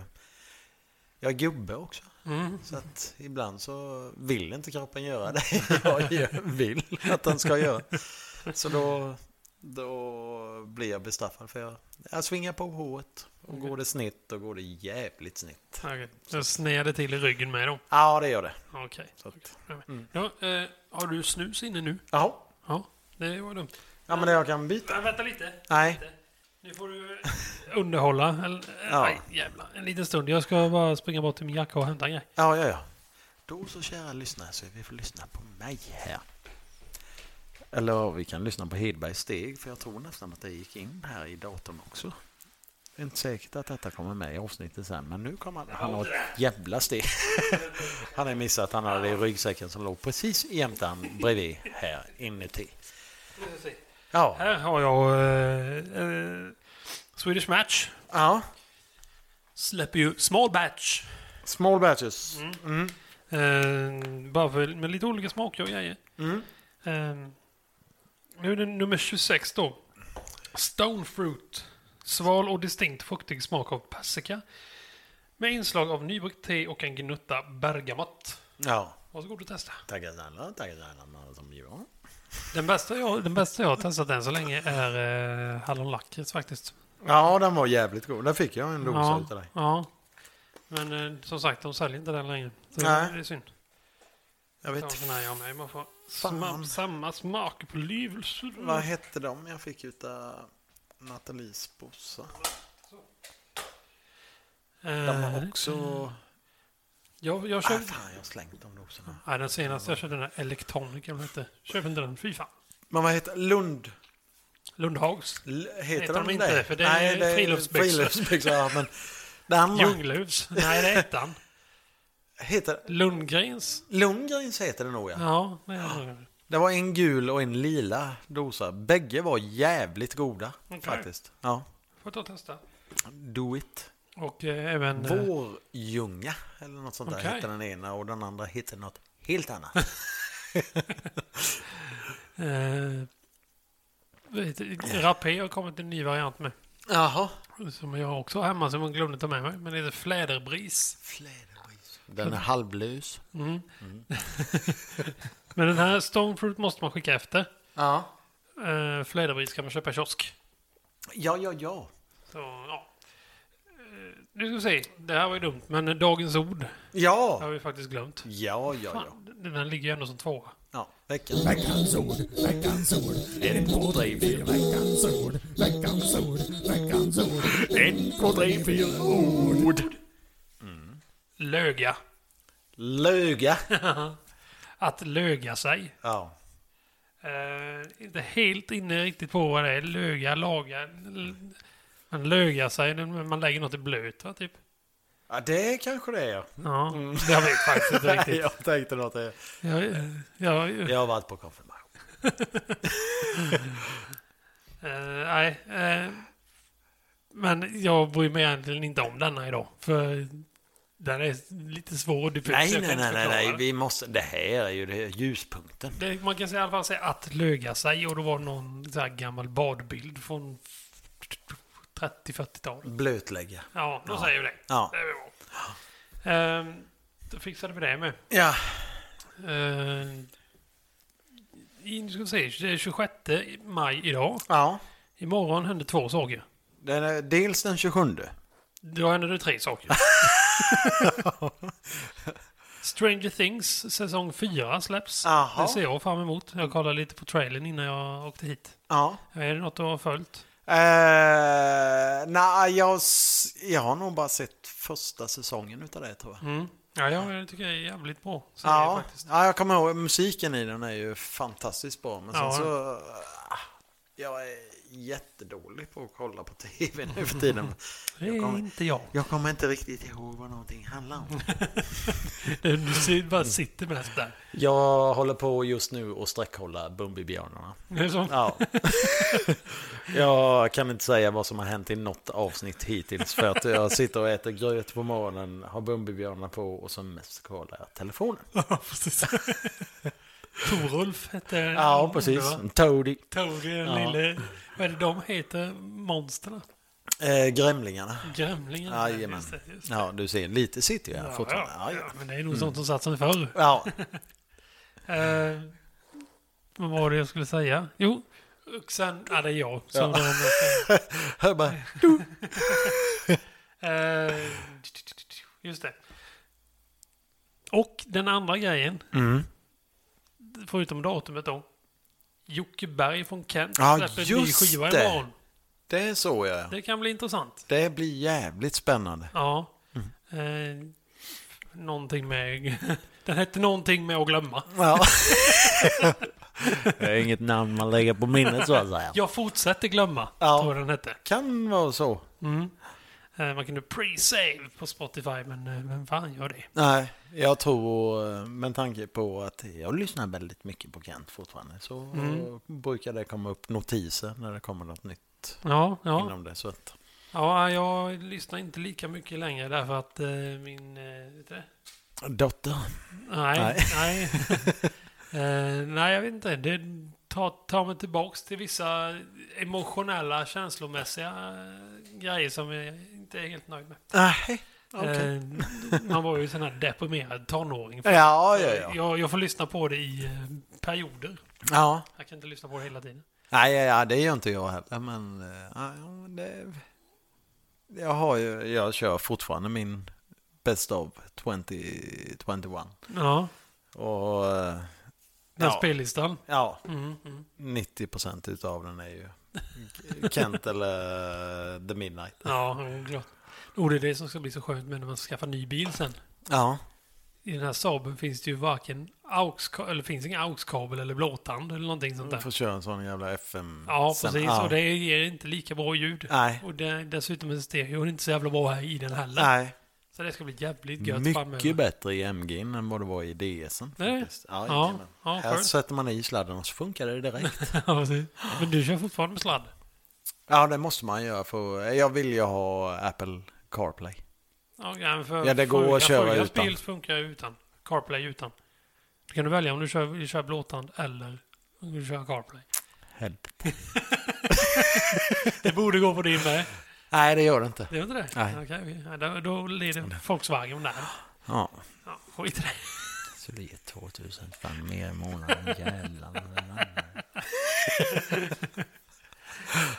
Jag är gubbe också. Mm. Så att ibland så vill inte kroppen göra det jag gör- vill att den ska göra. Så då, då blir jag bestraffad för jag, jag svingar på håret Och går det snett, då går det jävligt snett. Okej. Så snear det till i ryggen med då? Ja, det gör det. Okej. Så att, Ja, eh, har du snus inne nu? jaha. Ja, det var dumt. Ja, men det jag kan byta. Men vänta lite. Nej. Nu får du eh, underhålla. Eller, eh, Ja. Nej, jävlar. En liten stund. Jag ska bara springa bort till min jacka och hämta en grej. Ja, ja, ja. Då så, kära lyssnare, så vi får lyssna på mig här. Eller vi kan lyssna på Hedbergs steg, för jag tror nästan att det gick in här i datorn också. Det är inte säkert att detta kommer med i avsnittet sen, men nu kommer han. Han har ett jävla steg. <laughs> Han har missat, han hade det i ryggsäcken som låg precis jämte han bredvid här inuti. Ja, Här har jag eh, eh, Swedish Match. ja. Släpper ju Small Batch. small batches. Mm. Eh, bara för, med lite olika smaker och grejer. Mm. Eh, nu är det nummer 26 då. Stone Fruit. Sval och distinkt fruktig smak av persika. Med inslag av nybryggt te och en gnutta bergamott. Ja, Varsågod och testa. tackar snälla, tackar snälla. som jag. Den bästa jag, den bästa jag har testat än så länge är eh, hallonlakrits faktiskt. Ja, den var jävligt god. Där fick jag en dosa Ja, utav dig. Ja. Men eh, som sagt, de säljer inte den längre. Så Nej. Det är synd. Jag Jag vet vet inte. Jag med. Man får Fan. samma, samma smak på lyvelser. Vad hette de jag fick utav Nathalies bossa? De var också... Eh, Jag, jag Ah, köpte... fan, jag har slängt de dosorna. Nej, den senaste jag köpte, den här Electronic, eller vad hette. Köp inte den. Fy fan. Men vad heter Lund? Lundhags. L- heter, Heter de, de inte det? det? För det är friluftsbyxor. friluftsbyxor, ja, men det andra Ljunglövs. Nej, det är ettan. heter... Lundgrens. Lundgrens heter det nog, ja. Ja, det är det. Det var en gul och en lila dosa. Bägge var jävligt goda, Okej. faktiskt. Ja. Får ta och testa. Do it. Och eh, även... eh, Vårljunga eller något sånt där Okej. hette den ena och den andra hette något <laughs> helt annat. Eh, vet- Rapé har kommit en ny variant med. Jaha. Som jag också har hemma som jag glömde ta med mig. Men det heter fläderbris. Fläderbris. Den är halvlös. Mm. Men den här Stonefruit måste man skicka efter. Ja. Eh, fläderbris kan man köpa i kiosk. Ja, ja, ja. Så, ja. Eh, Nu ska vi se. Det här var ju dumt. Men Dagens Ord har Ja, vi faktiskt glömt. ja, ja. ja. Fan, den ligger ju ändå som tvåa. ja veckans. Veckans ord, veckans ord, en två tre fyra. Veckans ord, veckans ord, veckans ord, en två tre fyra ord. Löga. Löga. Att löga sig. Ja. Eh, inte helt inne riktigt på vad det är. Löga, laga. l- Man lögar sig. Man lägger något i blöt, va, typ. ja, det kanske det är. Ja, det har vi faktiskt <laughs> inte Nej, riktigt. jag tänkte något. eh, Jag, jag, jag, Jag har varit på konfirmation. eh, nej, eh, men jag bryr mig egentligen inte om denna idag. För den är lite svår och diffus. Nej, jag kan nej, inte nej, nej, förklara nej. den. Vi måste... Det här är ju det här ljuspunkten. Det, man kan säga, i alla fall säga att löga sig och då var det någon så här gammal badbild från 30-40-talet. Blötlägga. Ja, då säger vi det. Ja. Det är bra. Ehm, då fixade vi det med. Ja. Ehm, i- nu ska vi se, det är 26 maj idag. Ja. Imorgon händer två saker. Den är dels den 27. Då händer det tre saker. <laughs> Stranger Things säsong 4 släpps. Jaha. Det ser jag fram emot. Jag kollade lite på trailern innan jag åkte hit. Ja. Är det något du har följt? Eh, nej, jag, s- jag har nog bara sett första säsongen utav det, tror jag. Mm. Ja, jag jag tycker det är jävligt bra. Så Ja, faktiskt. ja, jag kommer ihåg musiken i den är ju fantastiskt bra. Men Ja. sen så... ah, Jag är jättedålig på att kolla på tv nu för tiden. Det är Jag kommer- inte jag. <laughs> Jag kommer inte riktigt ihåg vad någonting handlar om. Du du ser- bara Mm. sitter mest där. Jag håller på just nu och sträckhålla Bumbibjörnarna. Det är som, Ja. <laughs> jag kan inte säga vad som har hänt i något avsnitt hittills. För att jag sitter och äter gröt på morgonen, har Bumbibjörnarna på och som mest kollar jag telefonen. <laughs> ja, precis. <laughs> Torulf hette Ja, precis. Toady. Tore, Ja. lille... Vad är det de heter? Monsterna? Eh, Gremlingarna. Gremlingarna? Jajamän. Just det, just det. Ja, du ser, lite sitter jag här Ja, fortfarande. ja, Ja, Mm. ja, men det är nog sånt som satt som förr. ja. Eh, vad var det jag skulle säga? Jo, och sen... Ja, det är jag som Ja. ja. ja. Jag bara, Eh, just det. Och den andra grejen, Mm. förutom datumet då. Jocke Berg från Kent Ja, släpper en ny just skiva det. imorgon. Det är så ja. Det kan bli intressant. Det blir jävligt spännande. Ja. Mm. Eh, någonting med... <laughs> den hette någonting med att glömma. <laughs> Ja. det är inget namn man lägger på minnet så att säga. Jag fortsätter glömma, Ja. tror jag den hette. Kan vara så. Mm. Eh, Man kunde pre-save på Spotify, men eh, vem fan gör det? Nej, jag tror eh, med tanke på att jag lyssnar väldigt mycket på Kent fortfarande så Mm. brukar det komma upp notiser när det kommer något nytt Ja, ja. inom det. Så att, ja, jag lyssnar inte lika mycket längre därför att eh, min... eh, Vet du det? dotter. Nej, Nej. <laughs> nej. Eh, nej, jag vet inte. Det tar, tar mig tillbaks till vissa emotionella, känslomässiga eh, grejer som jag inte är helt nöjd med. Nej, okej. Eh, man var ju sån här deprimerad tonåring. Eh, Ja, ja, ja. Jag, jag får lyssna på det i eh, perioder. ja. Jag kan inte lyssna på det hela tiden. Nej, ja, ja, det gör inte jag heller. Men eh, ja, det, jag, har ju, jag kör fortfarande min Best of 2021. Ja, Och eh, den Ja. spellistan. ja, Mm, mm. 90 procent utav den är ju <laughs> Kent eller eh, The Midnight. Ja, det är klart. Och det är det som ska bli så skönt med när man skaffar ny bil sen. Ja, I den här Saaben finns det ju varken aux, eller finns ingen aux-kabel eller blåtand eller någonting sånt du där. får köra en sån jävla FM. Ja, sen. precis. Ja. Och det ger inte lika bra ljud. Nej, Och det, dessutom är stereon inte så jävla bra här i den heller. nej. Så det ska bli jävligt gött framöver. Mycket bättre i MG än vad det var i DSen. Nej. faktiskt. Ja, Ja, jajamän. ja, Här skönt. sätter man i sladden och så funkar det direkt. <laughs> ja, precis. Men du kör fortfarande med sladd? Ja, det måste man göra. För jag vill ju ha Apple CarPlay. Ja, ja, men för, Ja, det går för- att ja, köra för jag utan. bil funkar ju utan. CarPlay utan. Då kan du välja om du kör, vill köra blåtand eller om du kör CarPlay. Helvete. Det borde gå på din med. Nej, det gör det inte. Det är inte det? Nej. Okej, vi- ja, då, då leder Volkswagen där. Ja. Ja, skit i <laughs> det. Så det är 2000 spänn mer i månaden. Jävlar.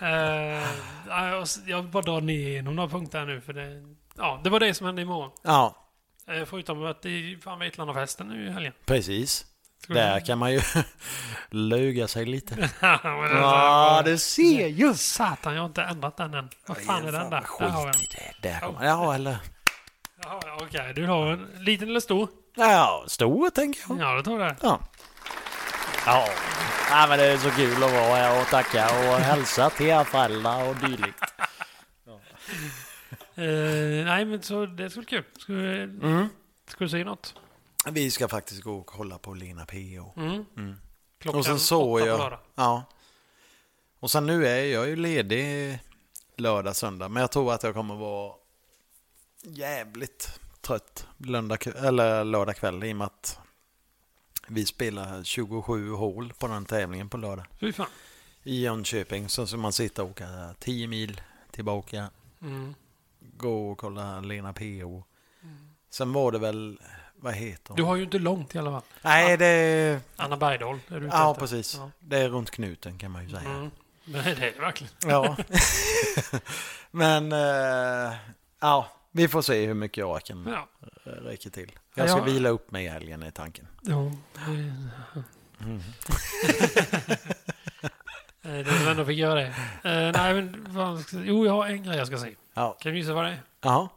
Eh, ja, jag, jag vill bara dra ner igenom några punkter här nu. För det, ja, det var det som hände imorgon. Ja, Eh, förutom att det är fan Vetlandafesten nu i helgen. precis. Ska <laughs> vi- Där kan man ju <laughs> luga sig lite. Ja, men det- Ja, du ser ju. Satan, jag har inte ändrat den än. Vad fan är den där? Där har jag Skit den. i det. Där kommer Ja, eller... Jaha, ja, Okej, du har en liten eller stor? Ja, stor tänker jag. Ja, det tror jag. Ja. Ja. ja, men det är så kul att vara här och tacka och hälsa till era föräldrar och dylikt. Eh, nej, men så det skulle kul. Ska du, Mm. ska du säga något? Vi ska faktiskt gå och kolla på Lena P.O. Mm. Klockan Och sen såg åtta på jag... lördag. Ja. Och sen nu är jag ju ledig lördag, söndag. Men jag tror att jag kommer vara jävligt trött löndag, eller lördag kväll i och med att vi spelar 27 hål på den tävlingen på lördag Fy fan. i Jönköping. Så ska man sitta och åka 10 mil tillbaka, Mm. gå och kolla Lena P.O. Sen var det väl, vad heter Du hon? har ju inte långt i alla fall. Nej, det är, Anna Bergdahl är du ute ja, efter. precis. Ja. det är runt knuten kan man ju säga. Mm. Nej, det är det verkligen. <laughs> Ja. <laughs> Men eh, ja, vi får se hur mycket jag kan Ja. eh, räcker till. Jag ska Ja. vila upp mig i helgen i tanken. Jo, det- Mm. <laughs> Eh, det var ändå fick göra det. Eh, nej, men vad ska- Jo, jag har en grej jag ska säga. Ja. Kan du gissa vad det är? Jaha.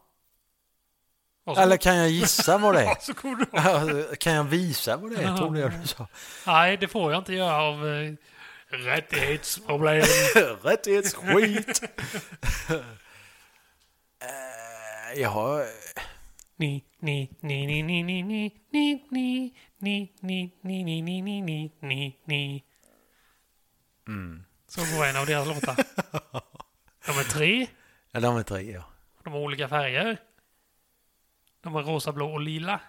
Varsågod. Eller kan jag gissa vad <laughs> det är? Varsågod. Ja, Kan jag visa vad det är? Tror du jag du sa? Nej, det får jag inte göra av eh, rättighetsproblem. Rättighetsskit! <laughs> Eh, Jag har... Ni, ni, ni, ni, ni, ni, ni, ni, ni, ni, ni, ni, ni, ni, ni, ni, ni, ni. Mm. Så går en av deras låtar. <laughs> De är tre, Ja, de är tre, ja. de har olika färger. De är rosa, blå och lila.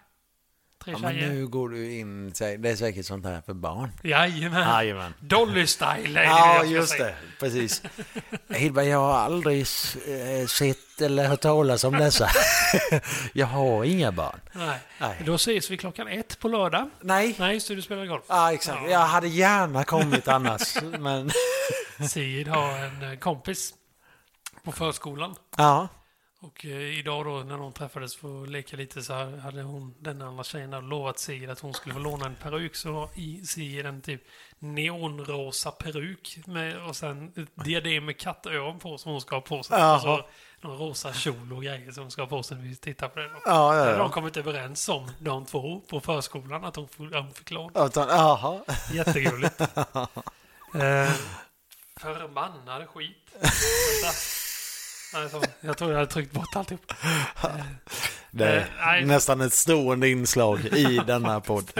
Tre ja men tjejer. nu går du in... säg- Det är säkert sånt här för barn. Jajamän. Jajamän. Dolly-style är det Ah. Ja, jag ska just säga. det. Precis. Hilma, jag har aldrig s- eh, sett eller hört talas om dessa. <laughs> jag har inga barn. Nej. Nej. Då ses vi klockan ett på lördag. Nej. Nej, just det, du spelar golf. Ja, exakt. Jag hade gärna <laughs> kommit annars, men... Sid har en eh, kompis på förskolan. Ja. Och eh, idag då när de träffades för att leka lite så här hade hon, den andra tjejen hade lovat Sigrid att hon skulle få låna en peruk. Så har i Sigrid en typ neonrosa peruk med, och sen ett diadem med kattöron på som hon ska ha på sig. Jaha. Och så någon rosa kjol och grejer som hon ska ha på sig när vi tittar på det. Då. Ja, ja, Där De ja. kommit överens om, de två, på förskolan att hon får- hon fick låna. Utan, aha. <laughs> Jätteroligt. eh, förbannade <laughs> skit. Vänta. Nej, så, jag tror jag hade tryckt bort alltihop. Det Eh, är nej. nästan ett stående inslag <laughs> i denna podd.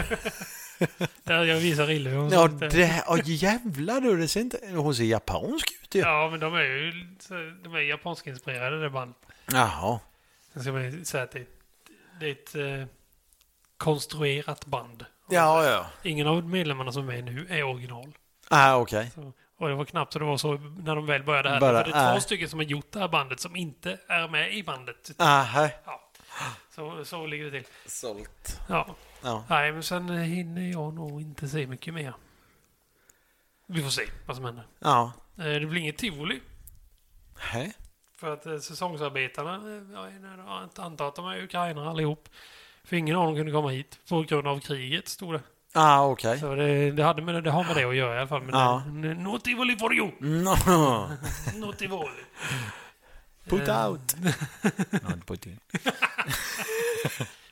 Jag, jag visar Ille hur hon Ja, sitter. det, oh, jävlar du. Det ser inte, hon ser japansk ut ju. ja, men de är ju så- de är japanskinspirerade det bandet. Jaha. Sen ska man ju säga att det, det är ett eh, konstruerat band. Ja, ja. Ingen av medlemmarna som är med nu är original. Ah, okej. Så, och det var knappt så det var så när de väl började här. Bara, För det är två äh. stycken som har gjort det här bandet som inte är med i bandet. Aha. Ja. Så, så ligger det till. Sålt. Ja. Ja. Nej, men sen hinner jag nog inte se mycket mer. Vi får se vad som händer. Ja. Eh, Det blir inget tivoli. Hej. För att eh, säsongsarbetarna, eh, jag är- jag antar att de är ukrainare allihop. För ingen av dem kunde komma hit på grund av kriget, stod det. Ah, okej. Så det, det, hade med, det har med det att göra i alla fall. Men Ja. eh, no tivoli for you! No. No tivoli. Put Eh, out. Not put in.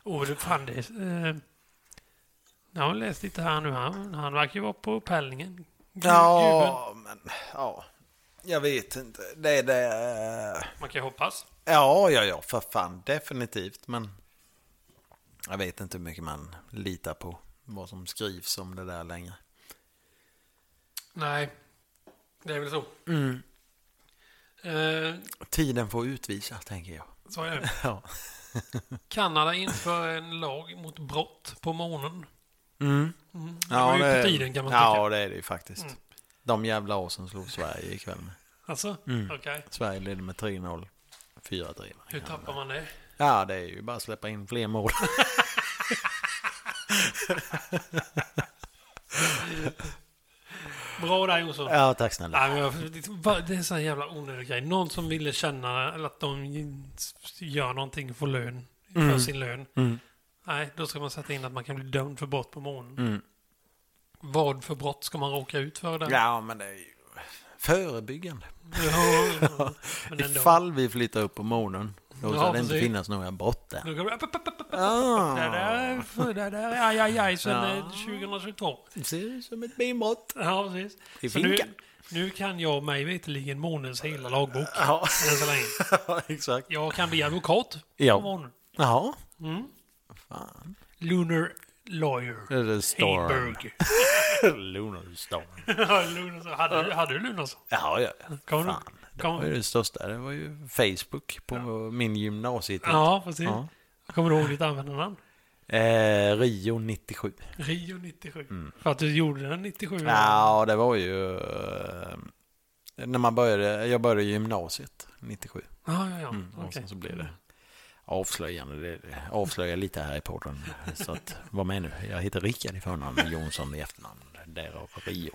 Åh, det fan det... är- Eh, jag har läst lite här nu. Han, han verkar ju vara på Pellingen. Gu- gubben. Ja, men ja. Jag vet inte. Det är det. Man kan ju hoppas. Ja, ja, ja, för fan. Definitivt, men jag vet inte hur mycket man litar på vad som skrivs om det där längre. Nej, det är väl så. Mm. Eh, Tiden får utvisa, tänker jag. <laughs> så är det. Ja. Kanada inför en lag mot brott på månen. Mm. Det var Ja, ju på tiden kan man tycka. Mm. ja, det är det ju faktiskt. De jävla asen slog Sverige ikväll. Med. Alltså, Mm. okej. Sverige ledde med 3-0. 4-3. Hur tappar man det? Ja, det är ju bara att släppa in fler mål. <laughs> Bra där Jonsson. Ja, tack snälla. Nej, men jag, det- det är så här jävla onödig grej. Någon som ville känna eller att de gör någonting för lön. För Mm. sin lön. Nej, då ska man sätta in att man kan bli dömd för brott på månen. Vad för brott ska man råka ut för där? Mm. Ja, men det är ju förebyggande. <laughs> Ja, men ändå. Ifall vi flyttar upp på månen, då ska Ja, det inte precis. finnas några brott där. Då går det upp, upp, upp, upp, upp. Det Ah, där, för- det där, är aj, aj, aj, sen eh, 2022. det ser ut som ett benbrott. Ja, precis. I Så nu, finkan. nu kan jag mig veterligen månens hela lagbok. <laughs> Ja, Än så länge. exakt. Jag kan bli advokat på Ja. månen. Jaha. Mm. Lunar lawyer. Det <laughs> är storm. Heiberg. <laughs> Lunar storm. Ja, Lunarsson. hade, du- hade du Lunarsson? Ja, ja. Kommer du? Fan. Det var Kommer, ju det största. Det var ju Facebook på min gymnasietid. ja, precis. Ja. Kommer du ihåg ditt användarnamn? Eh, Rio 97. Rio 97. För att du gjorde den 97? Mm. Ja, det var ju... eh, När man började, jag började i gymnasiet 97. Ja, ja, ja. Och Okej. sen så blev Mm, det avslöjande. Det avslöjar lite här i <laughs> podden. Så att, var med nu. Jag heter Rickard i förnamn och Jonsson i efternamn. Därav Rio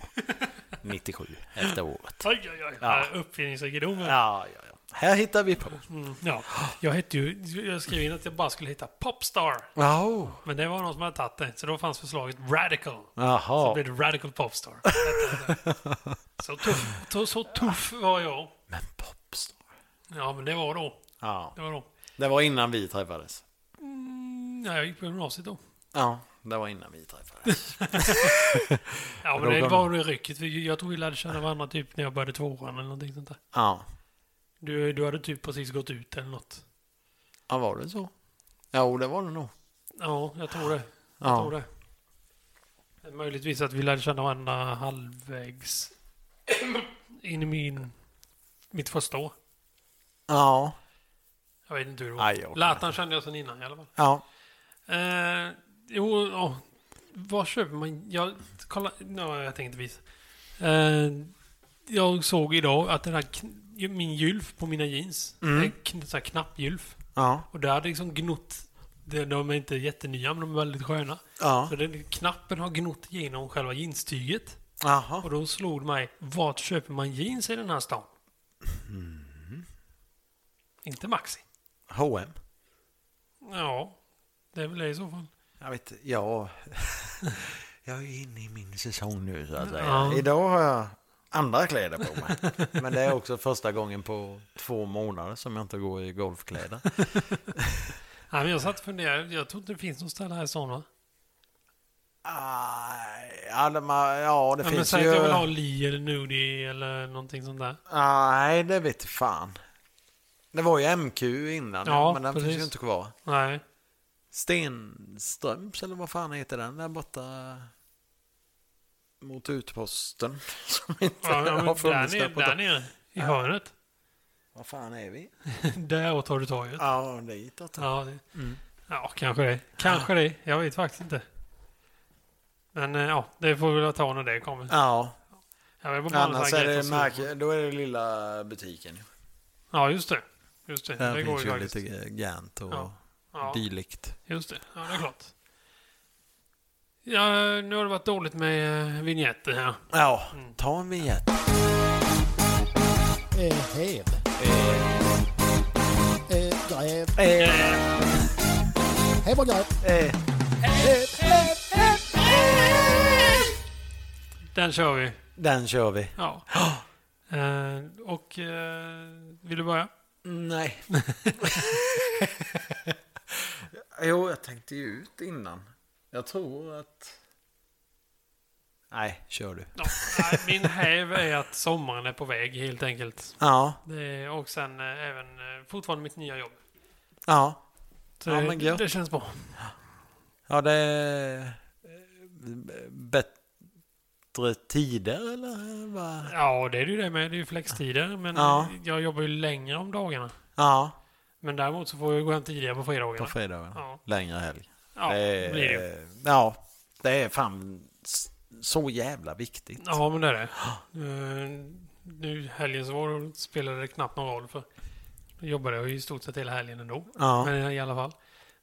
97, efter året. Oj, oj, oj. Ja. Ja. Uppfinningsrikedomen. Ja. Ja, ja, ja. Här hittar vi på. Mm, ja. Jag hette ju... Jag skrev in att jag bara skulle heta Popstar. Wow. Men det var någon som hade tagit det. Så då fanns förslaget Radical. Så Jaha. blev det Radical <laughs> Popstar. så, tuff, så, så tuff var jag. Men popstar. Ja, men det var då. Ja, Det var då. det var innan vi träffades. Mm, ja, jag gick på gymnasiet då. Ja, det var innan vi träffades. Ja, men Då det kan- var det rycket. för Jag tror vi lärde känna varandra typ när jag började tvåan eller någonting sånt där. Ja. Du, du hade typ precis gått ut eller något. Ja, var det så? Jo, det var det nog. Ja, jag tror det. Jag tror Ja. det. Möjligtvis att vi lärde känna varandra halvvägs in i min, mitt första år. Ja. Jag vet inte hur det Nej, jag var. orkar Latan kände jag sedan innan i alla fall. Ja. Eh, jo, ja. Vad köper man? Jag, kolla, no, jag tänkte visa. Eh, jag såg idag att den här, kn- min gylf på mina jeans, Mm. det är kn, så här knappgylf. Ja. Och där hade liksom gnott, de, de är inte jättenya men de är väldigt sköna. Ja. Så den, knappen har gnott igenom själva jeanstyget. Jaha. Och då slog det mig, vart Mm. köper man jeans i den här stan? Inte Maxi. H&M. Ja, det är väl det i så fall. Jag vet ja. <laughs> Jag är ju inne i min säsong nu så att säga. Ja. Idag har jag andra kläder på mig. Men det är också första gången på två månader som jag inte går i golfkläder. Nej, men jag satt och funderade. Jag tror inte det finns något ställe här i stan va? Ah, ja, de, har- ja, det Ja, men finns säg att jag vill ha ju... Lee eller Nudie eller någonting sånt där. Nej, det vet fan. Det var ju MQ innan, Ja, men den finns precis. ju inte kvar. <laughs> Nej. Stenströms eller vad fan heter den där borta mot utposten <laughs> som inte Ja, ja, har men där, funnits där, nere, på där nere i hörnet. <laughs> Vad fan är vi? Däråt har du torget. Ja, Mm. ditåt. Ja, det, ja, kanske det. Kanske det. Jag vet faktiskt inte. Men eh, ja, det får vi väl ta när det kommer. Ja, Jag vill bara annars bara är en grej det för solen. märk- då är det lilla butiken. Ja, just det. Just det. Där det går finns ju ju faktiskt. lite grant och Ja. Ja, dylikt. just det. Ja, det är klart. Ja, nu har det varit dåligt med eh, vignetter här. Ja, Mm. ta en vignett. Eh, Häv. Eh, Gräv. Häv och gräv. eh, Den kör vi. Den kör vi. Ja. Eh, och eh, vill du börja? Nej. <laughs> jo, jag tänkte ju ut innan. Jag tror att... Nej, kör du. Ja, nej, min häv är att sommaren är på väg helt enkelt. Ja, Det är, och sen eh, även eh, fortfarande mitt nya jobb. ja. Så Ja, det- men gött. det känns bra. Ja, det är... eh, Bättre tider eller? vad? Ja, det är det ju det med. Det är ju flextider. Men Ja. eh, jag jobbar ju längre om dagarna. Ja, Men däremot så får jag gå hem tidigare på på fredagarna. fredagarna. Ja. Längre helg. Ja, det är- blir det ju. Ja, det är fan s- så jävla viktigt. Ja, men det är det. Eh, Nu helgen så var det, spelade det knappt någon roll för då jobbade jag ju i stort sett hela helgen ändå. Ja. Men eh, i alla fall.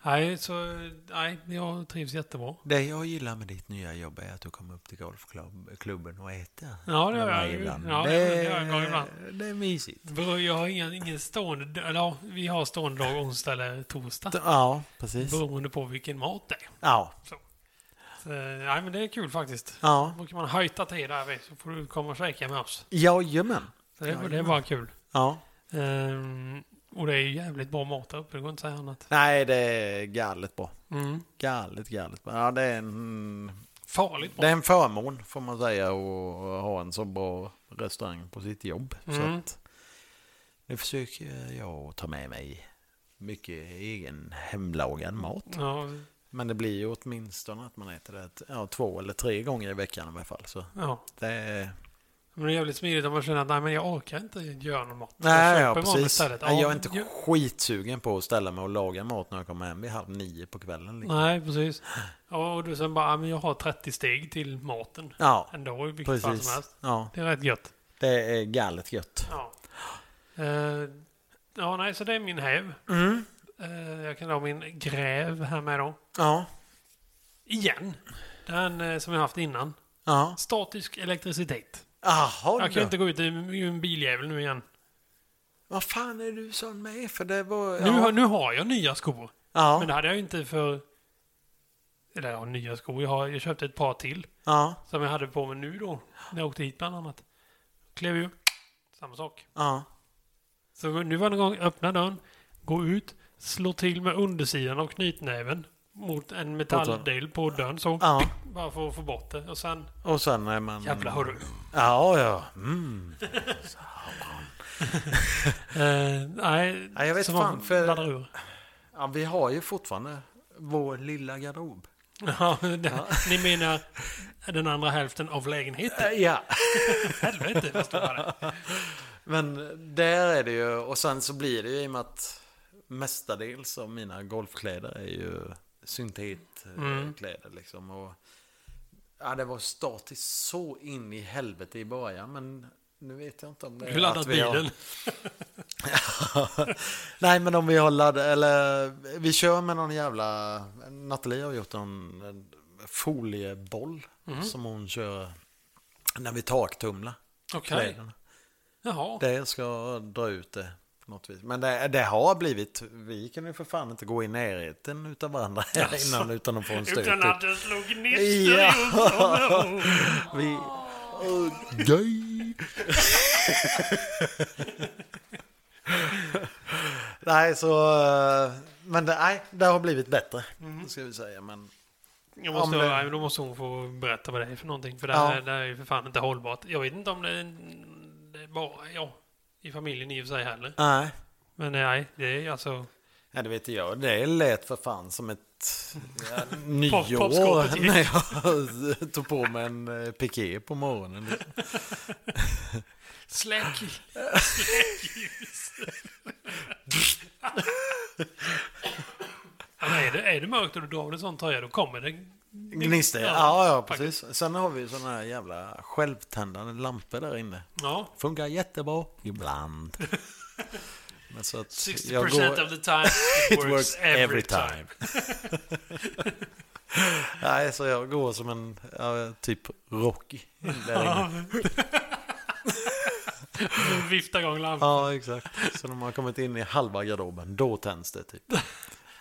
Nej, så eh, nej, jag trivs jättebra. Det jag gillar med ditt nya jobb är att du kommer upp till golfklubben och äter. Ja, det gör med jag mig ju. ibland. Ja, det gör jag ibland. det är mysigt. Bro, jag har ingen, ingen stående... Eller ja, vi har stående dag onsdag eller torsdag. Ja, precis. Beroende på vilken mat det är. Ja, Så, eh, nej, men det är kul faktiskt. ja. Då kan man hajta till där vid, så får du komma och käka med oss. Jajamän. Så det, det är Jajamän. bara kul. Ja. Ehm, och det är ju jävligt bra mat där uppe, det går inte att säga annat. Nej, det är galet bra. Mm. Galet, galet bra. Ja, det är en... Farligt Det bra. är en förmån får man säga att ha en så bra restaurang på sitt jobb. Så Mm. att, nu försöker jag att ta med mig mycket egen hemlagad mat. Ja, Men det blir ju åtminstone att man äter det ett- ja, två eller tre gånger i veckan i alla fall. Så ja. det är... Men det är jävligt smidigt om man känner att nej, men jag orkar inte göra någon mat. Jag Nej, köper ja, mat precis. istället. Nej, jag är men inte ju- skitsugen på att ställa mig och laga mat när jag kommer hem vid halv nio på kvällen. Liksom. Nej, precis. Ja, och du sen bara, ja, men jag har 30 steg till maten. Ja, Ändå, i vilket fall Mm. som precis. helst. Ja, Det är rätt gött. det är galet gött. Ja. Eh, ja, nej, så det är min häv. Mm. Eh, jag kan ha min gräv här med då. Ja, Igen. Den eh, som jag haft innan. ja. Statisk elektricitet. Jaha, Jag kan du. inte gå ut i i en biljävel nu igen. Vad fan är du sån med? För det var... Nu, ja. har, nu har jag nya skor. ja. Men det hade jag ju inte för... Eller ja, nya skor. Jag, har, jag köpte ett par till. ja, Som jag hade på mig nu då. När jag åkte hit bland annat. Klev ju. Samma sak. ja. Så nu var det en gång, öppna dörren, gå ut, slå till med undersidan av knytnäven mot en metalldel på dörren så. Ja. Bara för att få bort det. Och sen, Och sen är man... Mm. jävla hörru. Ja, ja. Mm. Eh, nej, Ja, jag vet så fan, man för- laddar ur. <laughs> ja, vi har ju fortfarande vår lilla garderob. Ja, det, Ni menar den andra hälften av <laughs> lägenheten? Ja, Helvete vad stora det är. men där är det ju... Och sen så blir det ju i och med att mestadels av mina golfkläder är ju Mm. syntetkläder liksom. Och, ja, det var statiskt så in i helvete i början, men nu vet jag inte om det Du laddar vi har- bilen. <laughs> Nej men om vi har ladd eller vi kör med någon jävla, Nathalie har gjort en, en folieboll Mhm. som hon kör när vi taktumlar Okej. kläderna. Jaha. Det ska jag dra ut det på något vis. Men det, det har blivit, vi kan ju för fan inte gå i närheten utav varandra här Alltså. <laughs> innan utan att få en stöt. Utan att det slog gnistor Ja. i ögonen. Vi... Gay. nej, så... eh, Men det, nej, det har blivit bättre. Mm. Ska vi säga, men... Jag måste, Om det- nej, men då måste hon få berätta vad det är för någonting. För det Ja. här, det här är ju för fan inte hållbart. Jag vet inte om det är, det är bara ja, i familjen i och för sig heller. Nej. Men nej, det är ju alltså... Ja, det vet jag. Det lät för fan som ett ja, nyår popskåpet gick. när jag tog på mig en eh, piké på morgonen. Släck! ja, men är, det, är det mörkt och du drar av dig en sån tröja, då kommer det... Gnistor, Ja, ja, ja precis. Sen har vi såna här jävla självtändande lampor där inne. Ja. Funkar jättebra <laughs> ibland. Men så att 60% jag går- of the time <laughs> it works, every, time. Nej, så jag går som en ja, typ Rocky. där inne. Du <laughs> viftar igång lampan. Ja, exakt. Så när man har kommit in i halva garderoben, då tänds <laughs> det typ.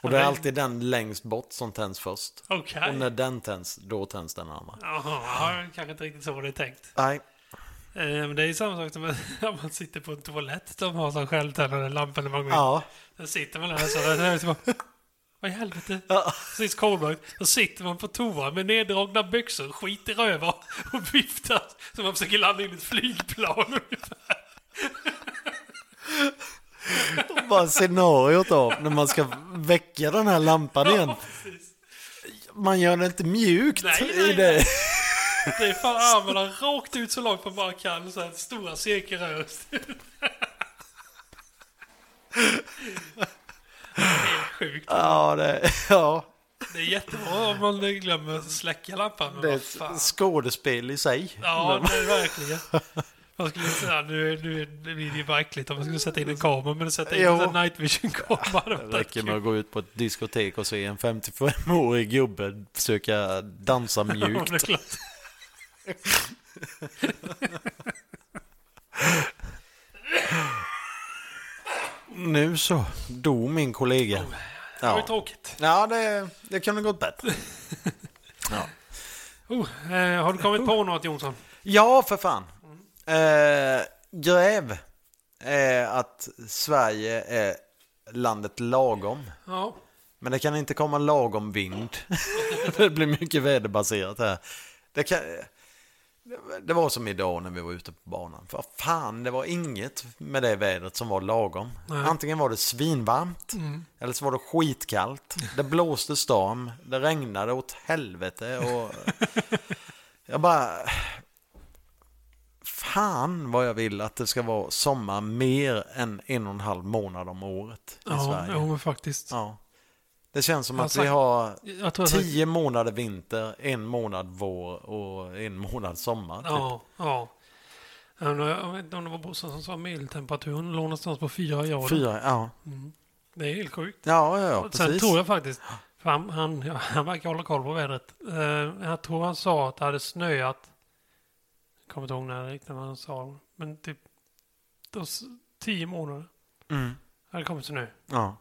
Och det är alltid den längst bort som tänds först. Okej. Och när den tänds, då tänds den andra. Jaha, kanske inte riktigt så var det är tänkt. Nej, Eh, Men det är ju samma sak som <laughs> när man sitter på en toalett. De har sån självtändande lampa när man går in. <laughs> ja. Sen sitter man där så där, där är det så bara, <laughs> Vad i helvete? Ja. Precis kolmörkt. Då sitter man på toa med neddragna byxor, skiter över och viftar som man försöker landa in i ett flygplan. <laughs> Bara scenariot av när man ska väcka den här lampan igen. Precis. Man gör det inte mjukt Nej, i nej, det. nej. Det är fan armarna rakt ut så långt man bara kan. Så här, stora cirkelrör. <laughs> Det är sjukt. Ja, det, ja. Det är jättebra om man glömmer att släcka lampan. Men det är vad ett fan. skådespel i sig. Ja, det är verkligen. <laughs> Man skulle säga, nu, nu, nu blir det ju bara äckligt om man skulle sätta in en kamera, men sätta in Jo. en sån här night vision-kamera. hade varit <laughs> Det räcker med kul. att gå ut på ett diskotek och se en 55-årig gubbe försöka <laughs> <laughs> dansa Ja, mjukt. det är klart. Nu så, dog min kollega. Det var ju Ja, tråkigt. ja det, det kunde gått bättre. Mm. Ja, Oh, eh, har du kommit på något Jonsson? ja för fan. Eh, gräv eh, att Sverige är landet lagom. Ja. Men det kan inte komma lagom vind. <laughs> det blir mycket väderbaserat här. Det, kan, det var som idag när vi var ute på banan. För fan, det var inget med det vädret som var lagom. Nej. Mm. Antingen var det svinvarmt, eller så var det skitkallt. Det blåste storm, det regnade åt helvete och... <laughs> jag bara... Fan vad jag vill att det ska vara sommar mer än en och en halv månad om året i Ja, Sverige. jo, men faktiskt. Ja. Det känns som Han att sagt- vi har Jag tror jag sagt- tio typ. månader vinter, en månad vår och en månad sommar. Typ. Ja, ja. Jag undrar- jag vet inte om det var Brorsan som sa medeltemperaturen låg någonstans på fyra grader. Fyra, ja. Det är helt sjukt. Ja, ja, ja Och precis. Sen tror jag faktiskt, för han, han, ja, han verkar hålla koll på vädret. Eh, jag tror han sa att det hade snöat, jag kommer inte ihåg när riktigt vad han sa, men typ då, s- tio månader Mm. hade det kommit snö Ja.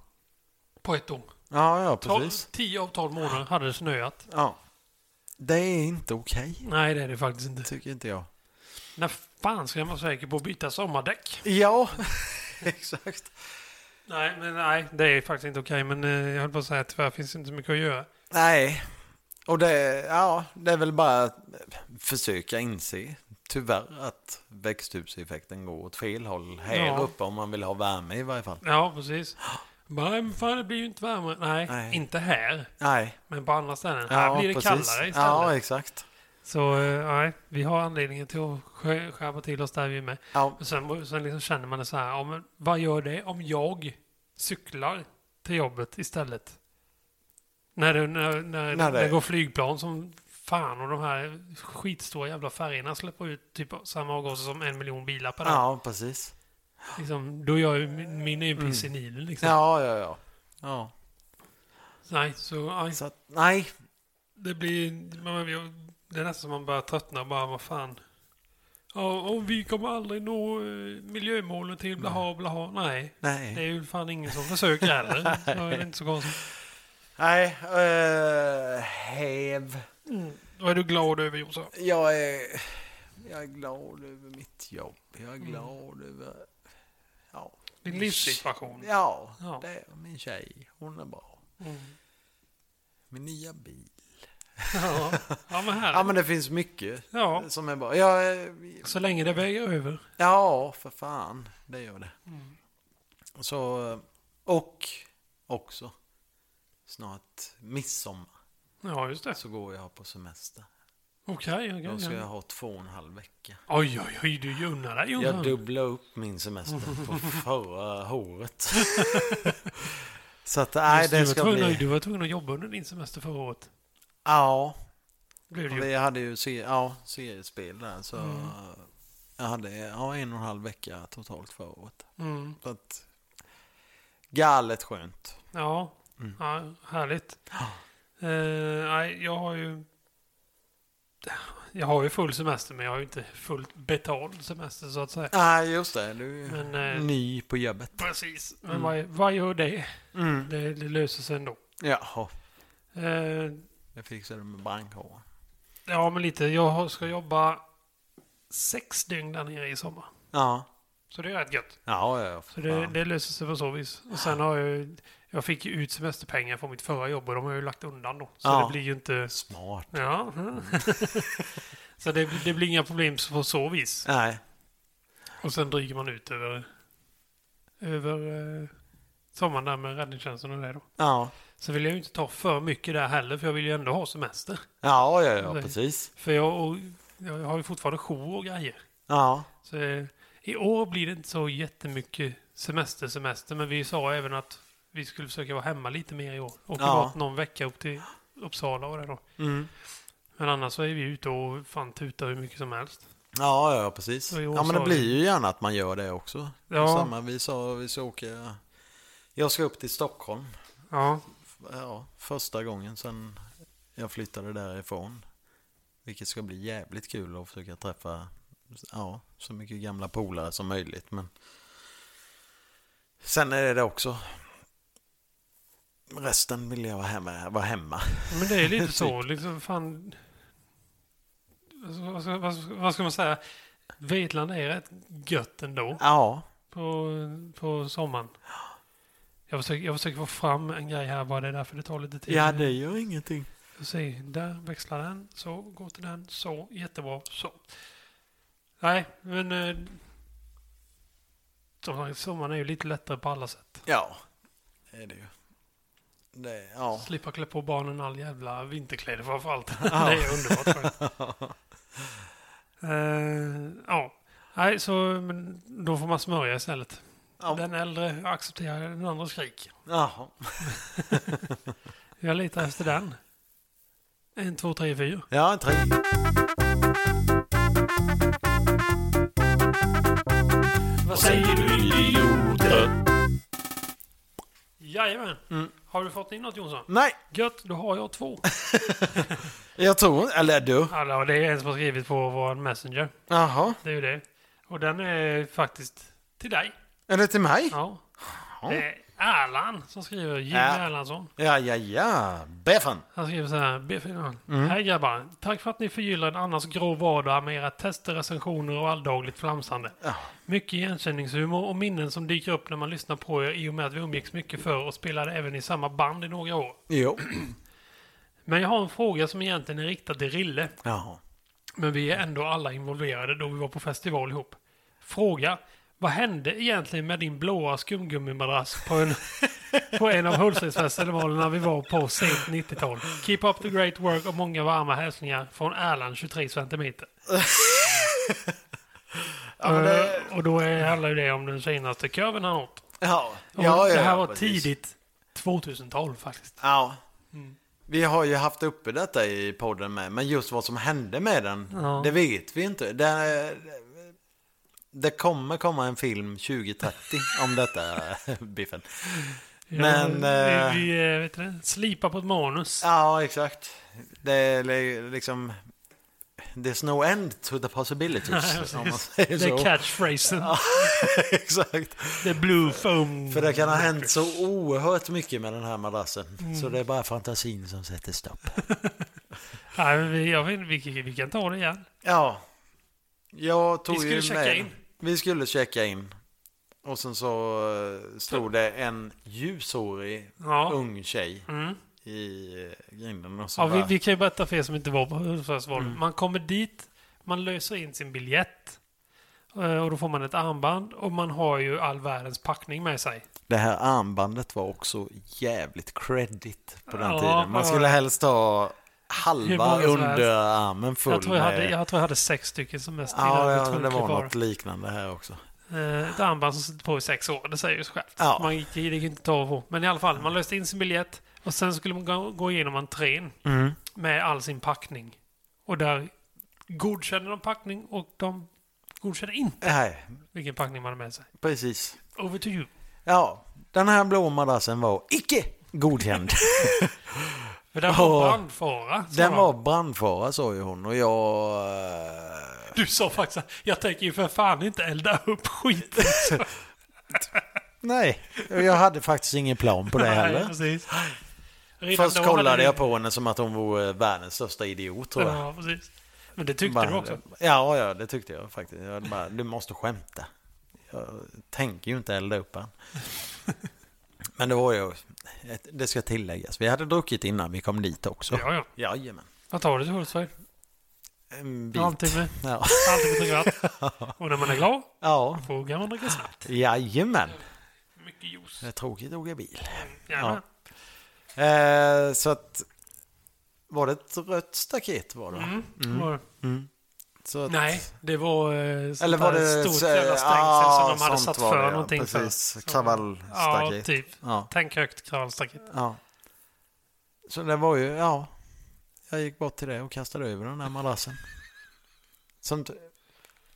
på ett år. ja, ja, Tolv, precis. tio av tolv månader hade det snöat. Ja. Det är inte okej, Nej, det är det faktiskt inte. tycker inte jag. När fan ska jag vara säker på att byta sommardäck? <laughs> Ja, exakt. Nej, men nej, det är faktiskt inte okej. Men eh, jag höll på att säga att tyvärr finns det inte så mycket att göra. Nej, och det, ja, det är väl bara att försöka inse, tyvärr, att växthuseffekten går åt fel håll här Ja. uppe om man vill ha värme i varje fall. Ja, precis. Bara, men fan, det blir ju inte varmare. Nej, Nej. inte här. Nej, Men på andra ställen. här blir det kallare istället. Ja, exakt. Så eh, nej, vi har anledningen till att skö- skärpa till oss där vi är med. Ja, Och sen sen liksom känner man det så här, ja, men vad gör det om jag cyklar till jobbet istället? När det, när, när, När det- det går flygplan som fan och de här skitstora jävla färgerna släpper ut typ samma avgaser som en miljon bilar per dag. ja precis. Liksom, då gör ju min, min är ju piss i Nilen liksom. Mm. Ja, ja, ja. ja. Nej, så aj, Så att, nej, det blir... Man, man- det är nästan som man börjar tröttna och bara, vad fan. Ja, och vi kommer aldrig nå eh, miljömålen till blaha blaha. Nej, det är Nej. ju fan ingen som försöker <laughs> heller. Så är det inte så konstigt. Nej, eh, häv. Vad är du glad över Josef? Jag är, jag är glad över mitt jobb. Jag är Mm. glad över... Ja, Din livssituation? Mm. ja, Ja. det är min tjej. Hon är bra. Mm. Min nya bil. <laughs> Ja. ja, men Ja, här. men det finns mycket Ja, som är bra. Jag, eh, är- så länge det väger över. ja, för fan. Det gör det. Mm. Så, och också snart midsommar Ja, just det. så går jag på semester. Okej, okej. Då ska jag ja. ha två och en halv vecka. Oj, oj, oj, du unnar dig Jag Johan. dubblade upp min semester <laughs> på förra året. så att, nej, Just det du, ska var tvungen, bli... du var tvungen att jobba under din semester förra året. Ja, Blev det ju. Mm. vi hade ju se, ja, seriespel där. Så jag hade ja, en och en halv vecka totalt förra året. Mm. Så att, galet skönt. Ja. Mm. ja, <gasps> härligt. Eh, nej, jag har ju... Jag har ju full semester, men jag har ju inte fullt betald semester så att säga. Nej, just det. Du är Men, eh, ny på jobbet. Precis, men vad, vad gör det? Mm. det? Det löser sig ändå. Jaha, Eh, det fixar du med brandkåren. ja, men lite. Jag har- ska jobba sex dygn där nere i sommar. Ja, Så det är rätt gött. ja, ja. Så för det, fan. det löser sig på så vis. Och sen har jag ju- jag fick ju ut semesterpengar från mitt förra jobb och de har jag ju lagt undan då. Så Ja. det blir ju inte... Smart. Ja. <laughs> så det, det blir inga problem på så vis. Nej, Och sen dryger man ut över, över eh, sommaren där med räddningstjänsten och det då. ja. Så vill jag ju inte ta för mycket där heller för jag vill ju ändå ha semester. Ja, ja, ja, precis. För jag, och, jag har ju fortfarande jour och grejer. Ja, Så eh, i år blir det inte så jättemycket semester, semester. Men vi sa även att vi skulle försöka vara hemma lite mer i år. Och Ja. ja. bort någon vecka upp till Uppsala och det då. mm. Men annars så är vi ute och fan tutar hur mycket som helst. Ja, ja, ja, precis. Och i år Ja, men sa det vi- blir ju gärna att man gör det också. Ja. Samma, vi sa vi ska åka... Jag ska upp till Stockholm. Ja, Ja, första gången sedan jag flyttade därifrån. Vilket ska bli jävligt kul att försöka träffa ja, så mycket gamla polare som möjligt. Men sen är det också... Resten vill jag vara hemma. Vara hemma. men det är lite så liksom fan. Alltså, vad, ska, vad, ska, vad ska man säga? Vetland är rätt gött ändå. Ja, på, på sommaren. Jag försöker, jag försöker få fram en grej här bara, det är därför det tar lite tid. ja det gör ingenting. Får Se, där växlar den, så, går till den, så, jättebra, så. Nej, men... Eh, som sagt, sommaren är ju lite lättare på alla sätt. Ja, det är det ju. Det, <laughs> ja. Slippa klä på barnen all jävla vinterkläder framförallt. <laughs> det är underbart skönt. Eh, ja. Nej, så men, då får man smörja istället. Ja. Den äldre accepterar den andra skrik. Jaha. Jag letar efter den. En, två, tre, fyra. Ja, tre. Vad säger du idioter? Jajamän. Har du fått in något Jonsson? Nej, Gött, då har jag två. jag tror Eller du. Alltså, det är en som har skrivit på vår Messenger. Jaha. Det är ju det. Och den är faktiskt till dig. Är det till mig? Ja. Det är Erland som skriver. Jimmy Ja. Erlandsson. Ja, ja, ja. Beffen. Han skriver så här, B4. Hej grabbar. Tack för att ni förgyller en annars grå vardag med era tester, recensioner och alldagligt flamsande. Mycket igenkänningshumor och minnen som dyker upp när man lyssnar på er i och med att vi umgicks mycket förr och spelade även i samma band i några år. Jo. Men jag har en fråga som egentligen är riktad till Rille, Jaha. men vi är ändå alla involverade då vi var på festival ihop. Fråga, vad hände egentligen med din blåa skumgummimadrass på <laughs> en, på en av Hultsfredsfestivalerna vi var på sent 90-tal? Keep up the great work och många varma hälsningar från Erland 23 cm. <laughs> Eh, Och då är, handlar ju det om den senaste kurven han åt. Ja, Och ja, det ja, här ja, var precis. tidigt 2012 faktiskt. Ja. Mm. Vi har ju haft uppe detta i podden med, men just vad som hände med den, Ja. det vet vi inte. Det, det kommer komma en film 2030 <laughs> om detta, Biffen. Men, Ja, eh, vi, vi eh, vet du, det, slipar på ett manus. Ja, exakt. Det är li- liksom... there's no end to the possibilities. om man säger Det är så. catchphrasen. <laughs> Exakt. The blue foam. För det kan ha hänt så oerhört mycket med den här madrassen. Så det är bara fantasin som sätter stopp. Nej, men vi, jag vet, vi, vi, vi kan ta det igen. <laughs> Ja. Jag tog Vi skulle ju checka med- in. Vi skulle checka in. Och sen så eh, stod det en ljushårig Ja. ung tjej Mm. i eh, grinden. Och så Ja, bara, vi, vi kan ju berätta för er som inte var på Hudiksvall. Mm. Man kommer dit, man löser in sin biljett. eh, Och då får man ett armband och man har ju all världens packning med sig. Det här armbandet var också jävligt credit på den Ja, tiden. Man ja. skulle helst ha Hur halva många som underarmen full Jag tror jag, hade, med... jag tror jag hade sex stycken som mest. innan Ja, jag ja, tog det var kvar. något liknande här också. Eh, Ett armband som sitter på i sex år, det säger ju sig självt. Ja. Man gick, det gick inte att ta av på. Men i alla fall, man löste in sin biljett och sen skulle man gå, gå igenom entrén Mm. med all sin packning. Och där godkände de packning och de godkände inte Nej, vilken packning man hade med sig. precis. Over to you. Ja, den här blå madrassen var icke <laughs> godkänd. För den var Ja. brandfara. sa den de. var brandfara sa ju hon och jag... eh, Du sa faktiskt att jag tänker ju för fan inte elda upp skiten. Nej, jag hade faktiskt ingen plan på det <laughs> Nej, heller. precis. Redan Först då kollade hade jag på henne som att hon vore världens största idiot tror jag. Ja, precis. Men det tyckte Bara- du också. Ja, ja, det tyckte jag faktiskt. Jag bara, du måste skämta. Jag tänker ju inte elda <laughs> upp han. Men det var ju, det ska tilläggas, vi hade druckit innan vi kom dit också. Ja, ja. Jajamän. Vad tar du till Hultsfred? En En bit. halvtimme. Ja. Alltid på <laughs> kvart. Och när man är glad, ja, då kan man dricka snabbt. jajamän. Mycket juice. Det är tråkigt att åka bil. Ja. Eh, så att, var det ett rött staket var det? va? Mm. Var, Så att, nej, det var eh, sånt Eller var där det... stort så- jävla stängsel ja, som de hade sånt satt var för det, ja, någonting Precis, för. kravallstaket. Ja, typ. Ja. Tänk högt kravallstaket. Ja. Så det var ju, ja. Jag gick bort till det och kastade över den här madrassen. Som t-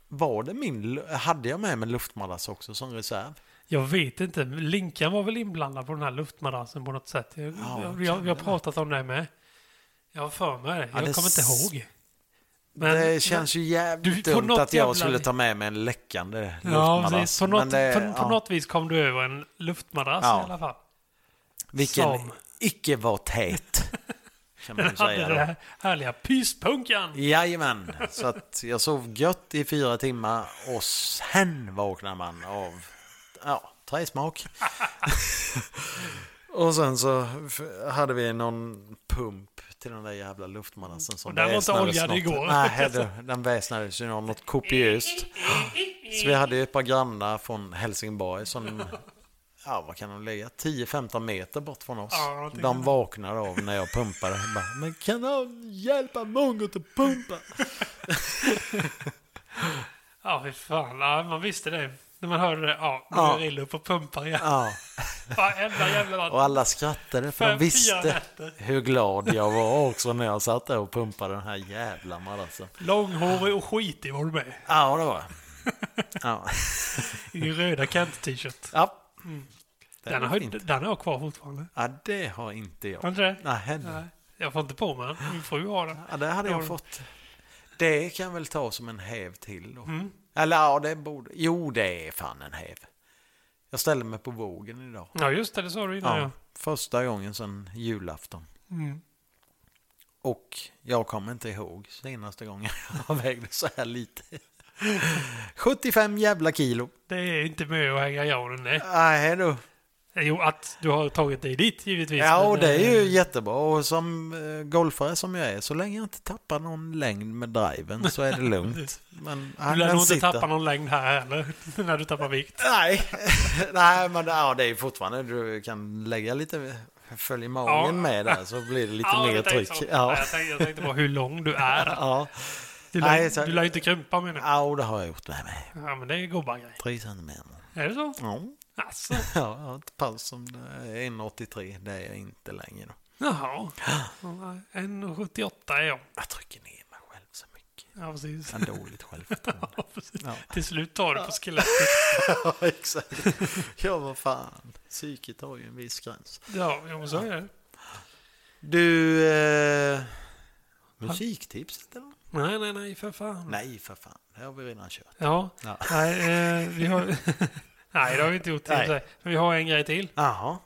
var det min, lu- hade jag med mig luftmadrass också som reserv? Jag vet inte. Linkan var väl inblandad på den här luftmadrassen på något sätt. Jag, Ja, jag, kan jag, vi har pratat om det med. Jag har för mig det. Jag det kommer inte s- ihåg. Men, det känns ju jävligt Du, på dumt något att jag jävla- skulle ta med mig en läckande Ja, luftmadrass. precis. På, något, Men det- på, på ja, något vis kom du över en luftmadrass Ja. i alla fall. vilken som- icke var tät. Kan <laughs> man Den ju hade säga den då. här härliga pyspunkan. Jajamän, så att jag sov gött i fyra timmar och sen vaknar man av ja, <laughs> träsmak. och sen så f- hade vi någon pump till den där jävla luftmadrassen som Och den var inte väsnades oljad något. igår. Nej, det- den väsnades ju något kopiöst. Så vi hade ju ett par grannar från Helsingborg som, ja vad kan de ligga, 10-15 meter bort från oss. Ja, jag tycker de vaknade av när jag pumpade. Bara, Men kan någon hjälpa mongot att pumpa? Ja, fy fan. Ja, man visste det. När man hörde det. Ja, nu Ja. är illa upp och pumpar igen. Ja, Varenda jävla natt. och alla skrattade för Fem, de fyra visste nätter. hur glad jag var också när jag satt där och pumpade den här jävla madrassen. Långhårig och skitig var du med. Ja, det var jag. ja. I röda Kent-t-shirt. ja. Den, var har- fint. den har jag kvar fortfarande. ja, det har inte Har du jag. inte det? Nej, Nej. Jag får inte på mig den. Min fru har den. ja, det hade jag Ja. fått. Det kan jag väl ta som en häv till då. Mm. Eller ja, det borde... Jo, det är fan en häv. Jag ställde mig på vågen idag. Ja, just det. Det sa du innan. Ja, Ja. Första gången sedan julafton. Mm. Och jag kommer inte ihåg senaste gången <laughs> jag vägde så <laughs> här lite. 75 jävla kilo. Det är inte mycket att hänga i granen. nej. Nej du. Jo, att du har tagit dig dit givetvis. Ja, men, och det är eh, ju jättebra. Och som eh, golfare som jag är, så länge jag inte tappar någon längd med driven så är <laughs> det lugnt. Men Du han lär nog inte tappa någon längd här heller. <laughs> När du tappar vikt. <laughs> Nej, Nej men ja, det är ju fortfarande, du kan lägga lite, följ magen Ja. med där så blir det lite <laughs> Ja, mer det tänkte tryck. jag. Nej, Ja. Jag, tänkte, jag tänkte på hur lång du är. Ja. Du lär, Nej, så- du lär ju inte krympa menar jag. ja, och det har jag gjort med mig. Ja, men det är gubbar grej. Tre centimeter. Är det så? Ja. Alltså. Ja, jag har ett pass som det är 1,83. Det är jag inte längre. Då. Jaha. 1,78 är jag. Jag trycker ner mig själv så mycket. Ja, precis. Jag har <laughs> dåligt självförtroende. Ja. Till slut tar du på skelettet. ja, exakt. Ja, vad fan. Psyket har ju en viss gräns. Ja, jo, men så är det. Du... Eh, musiktipset eller? Nej, nej, nej, för fan. Nej, för fan. Det har vi redan kört. Ja, Ja. nej, eh, vi <laughs> har... nej, det har vi inte gjort. i och för Nej. sig. Men vi har en grej till. Jaha.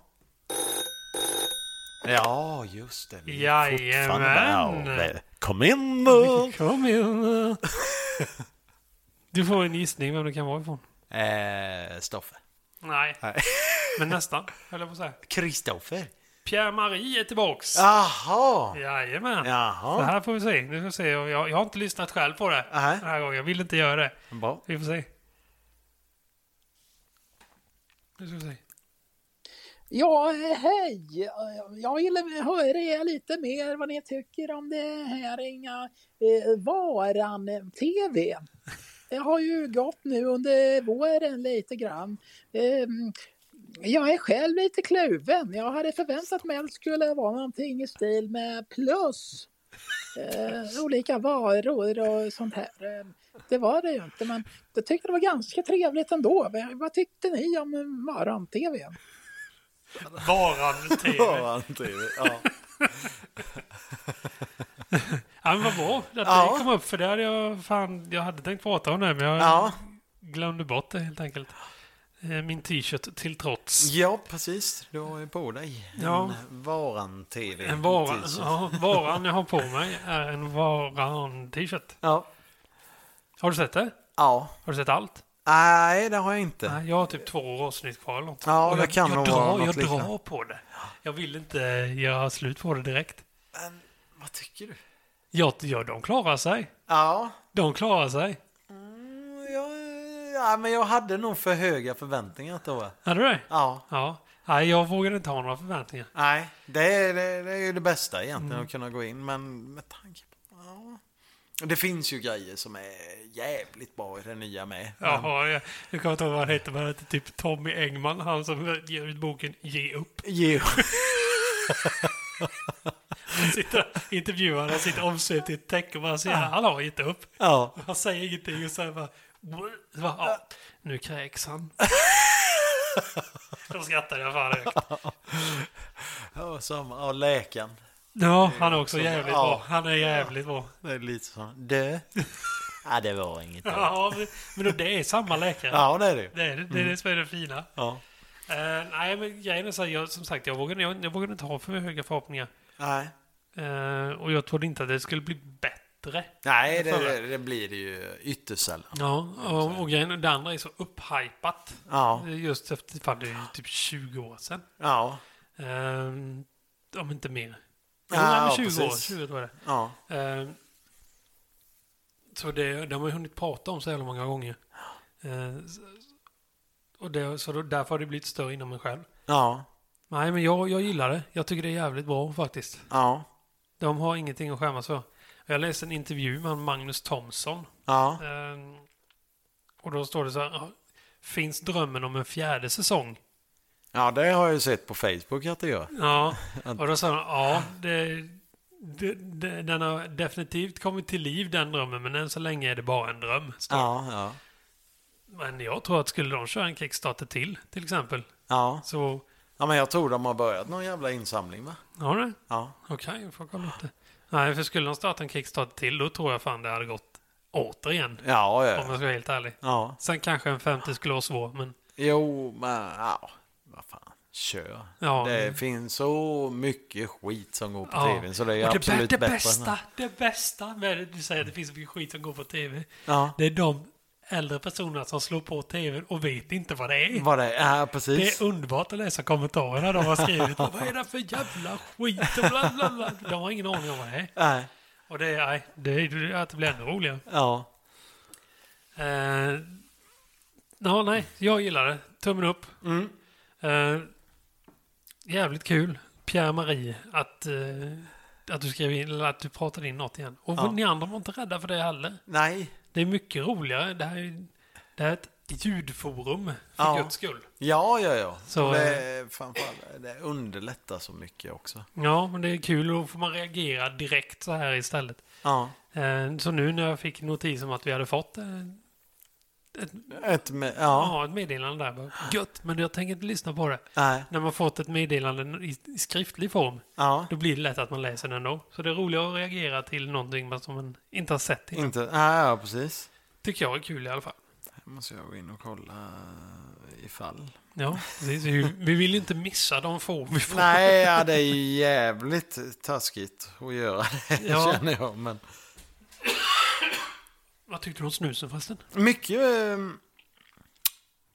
Ja, just det. Vi är Jajamän. fortfarande bara- Ja, väl- Kom in då! Kom igen. Du får en gissning vem det kan vara ifrån. <laughs> Eh, Stoffe. Nej, Nej. men nästan, höll jag på att säga. Kristoffer. Pierre-Marie är tillbaks. Jaha. Jajamän. Det Jaha. här får vi se. Nu ska vi se. om Jag, jag har inte lyssnat själv på det Nej. den här gången. Jag vill inte göra det. Bra. Vi får se. Nu ska vi se. Ja, eh, hej! Eh, Jag vill höra er lite mer vad ni tycker om det här inga eh, Varan-TV. Det har ju gått nu under våren lite grann. Ehm, jag är själv lite kluven. Jag hade förväntat mig att det skulle vara någonting i stil med plus. Eh, olika varor och sånt här. Eh, Det var det ju inte, men jag tyckte det var ganska trevligt ändå. Vad- Vad tyckte ni om eh, Varan-TV? Varan TV. Ja, TV. Ja. Ja, men vad bra att Ja. det kom upp. För det hade jag, fan, jag hade tänkt prata om det, men jag <laughs> ja. glömde bort det helt enkelt. Eh, Min t-shirt till trots. Ja, precis. Du har ju på dig Ja. en Varan-TV. En varan, ja, varan jag har på mig är en Varan-t-shirt. Ja. Har du sett det? Ja. Har du sett allt? Nej, det har jag inte. Nej, jag har typ två avsnitt kvar eller något. Ja, Och det jag, kan jag nog drar, vara något Jag drar liknande. på det. Jag vill inte göra slut på det direkt. Men, vad tycker du? Ja, ja, de klarar sig. Ja. De klarar sig. Jag, ja, men jag hade nog för höga förväntningar tror jag. Hade du det? Ja. Ja. Nej, jag vågar inte ha några förväntningar. Nej, det är, det, det är ju det bästa egentligen att kunna gå in. Men med tanke på... Ja. Det finns ju grejer som är jävligt bra i det nya med. Jaha, jag, jag kommer inte ihåg vad han heter, men han heter typ Tommy Engman, han som ger ut boken Ge upp. <laughs> Jo. Han sitter och intervjuar, han sitter omsvept i ett täcke och bara säger han har gett upp. Ja. Han säger ingenting och sen bara... Så bara ja, nu kräks <laughs> han. Då skrattade jag fan högt. Ja, samma. Ja, läkaren. Ja, han är också jävligt Ja. bra. Han är jävligt bra. Det är lite så. Dö. <laughs> ja, det var inget bra. Ja, men- men det är samma läkare. Ja, det är det ju. Det är det, är det som är det fina. Ja. Eh, nej, men grejen är så här, jag, som sagt, jag vågade, jag, jag vågade inte ha för höga förhoppningar. Nej. Eh, och jag trodde inte att det skulle bli bättre. Nej, det, det, det blir det ju ytterst sällan. Ja, och, och grejen, det andra är så upphypat. Ja. Eh, Just efter, fan det är ju typ 20 år sedan. Ja. Ehm, om inte mer. Jo, Ja, nej, men ja, 20 år. precis. 20 tror jag Ja. det är. Ehm, Så det, det har man ju hunnit prata om så jävla många gånger. Ehm, s- och det, så då, därför har det blivit större inom mig själv. Ja. Nej, men jag, jag gillar det. Jag tycker det är jävligt bra faktiskt. Ja. De har ingenting att skämmas för. Jag läste en intervju med han Magnus Thomsson. Ja. Ehm, och då står det så här. "Ja, Finns drömmen om en fjärde säsong? Ja, det har jag ju sett på Facebook att det gör. Ja, och då sa han ja, det, det, det, den har definitivt kommit till liv den drömmen, men än så länge är det bara en dröm. Ja, ja. Men jag tror att skulle de köra en Kickstarter till, till exempel, Ja. så, Ja, men jag tror de har börjat någon jävla insamling, va? ja det, Ja. okej, jag får kolla upp det. Nej, för skulle de starta en Kickstarter till, då tror jag fan det hade gått återigen, Ja, ja. om jag ska vara helt ärlig. ja. Sen kanske en 50 skulle vara svår, men Jo, men ja. Vad fan. Kör. Ja. det finns så mycket skit som går på Ja. tvn så det är Och det, absolut bä- det bättre. än- bästa, det bästa med det, du säger att det finns mycket skit som går på tv. Ja. Det är de äldre personerna som slår på tvn och vet inte vad det är. Vad det är, ja, Det precis. är underbart att läsa kommentarerna de har skrivit. Vad är det för jävla skit? Och bla bla bla. De har ingen aning om vad det är. Nej. Och det är, nej, det är att det blir ännu roligare. Ja. Eh, ja, nej, jag gillar det. Tummen upp. Eh, jävligt kul, Pierre-Marie, att, eh, att du skrev in, eller att du pratade in något igen. Och ni andra var inte rädda för det heller. Nej. Det är mycket roligare. Det här är, det här är ett ljudforum, för Ja. guds skull. Ja, ja, ja. Så, eh, Så, det, framförallt, det underlättar så mycket också. Ja, men det är kul. och Då får man reagera direkt så här istället. Ja. Eh, Så nu när jag fick notis om att vi hade fått eh, ett, Ett med, ja. ja, ett meddelande där. Bara, Gött, men jag tänker inte lyssna på det. Nej. När man fått ett meddelande i, i skriftlig form, Ja. då blir det lätt att man läser den ändå. Så det är roligare att reagera till någonting som man inte har sett innan. Inte, nej, ja, precis. Tycker jag är kul i alla fall. Här måste jag gå in och kolla eh, ifall. Ja, precis. Vi- Vi vill ju inte missa de få vi får. Nej, ja, det är ju jävligt taskigt att göra det, Ja. <laughs> känner jag. Men Vad tyckte du om snusen förresten? mycket eh,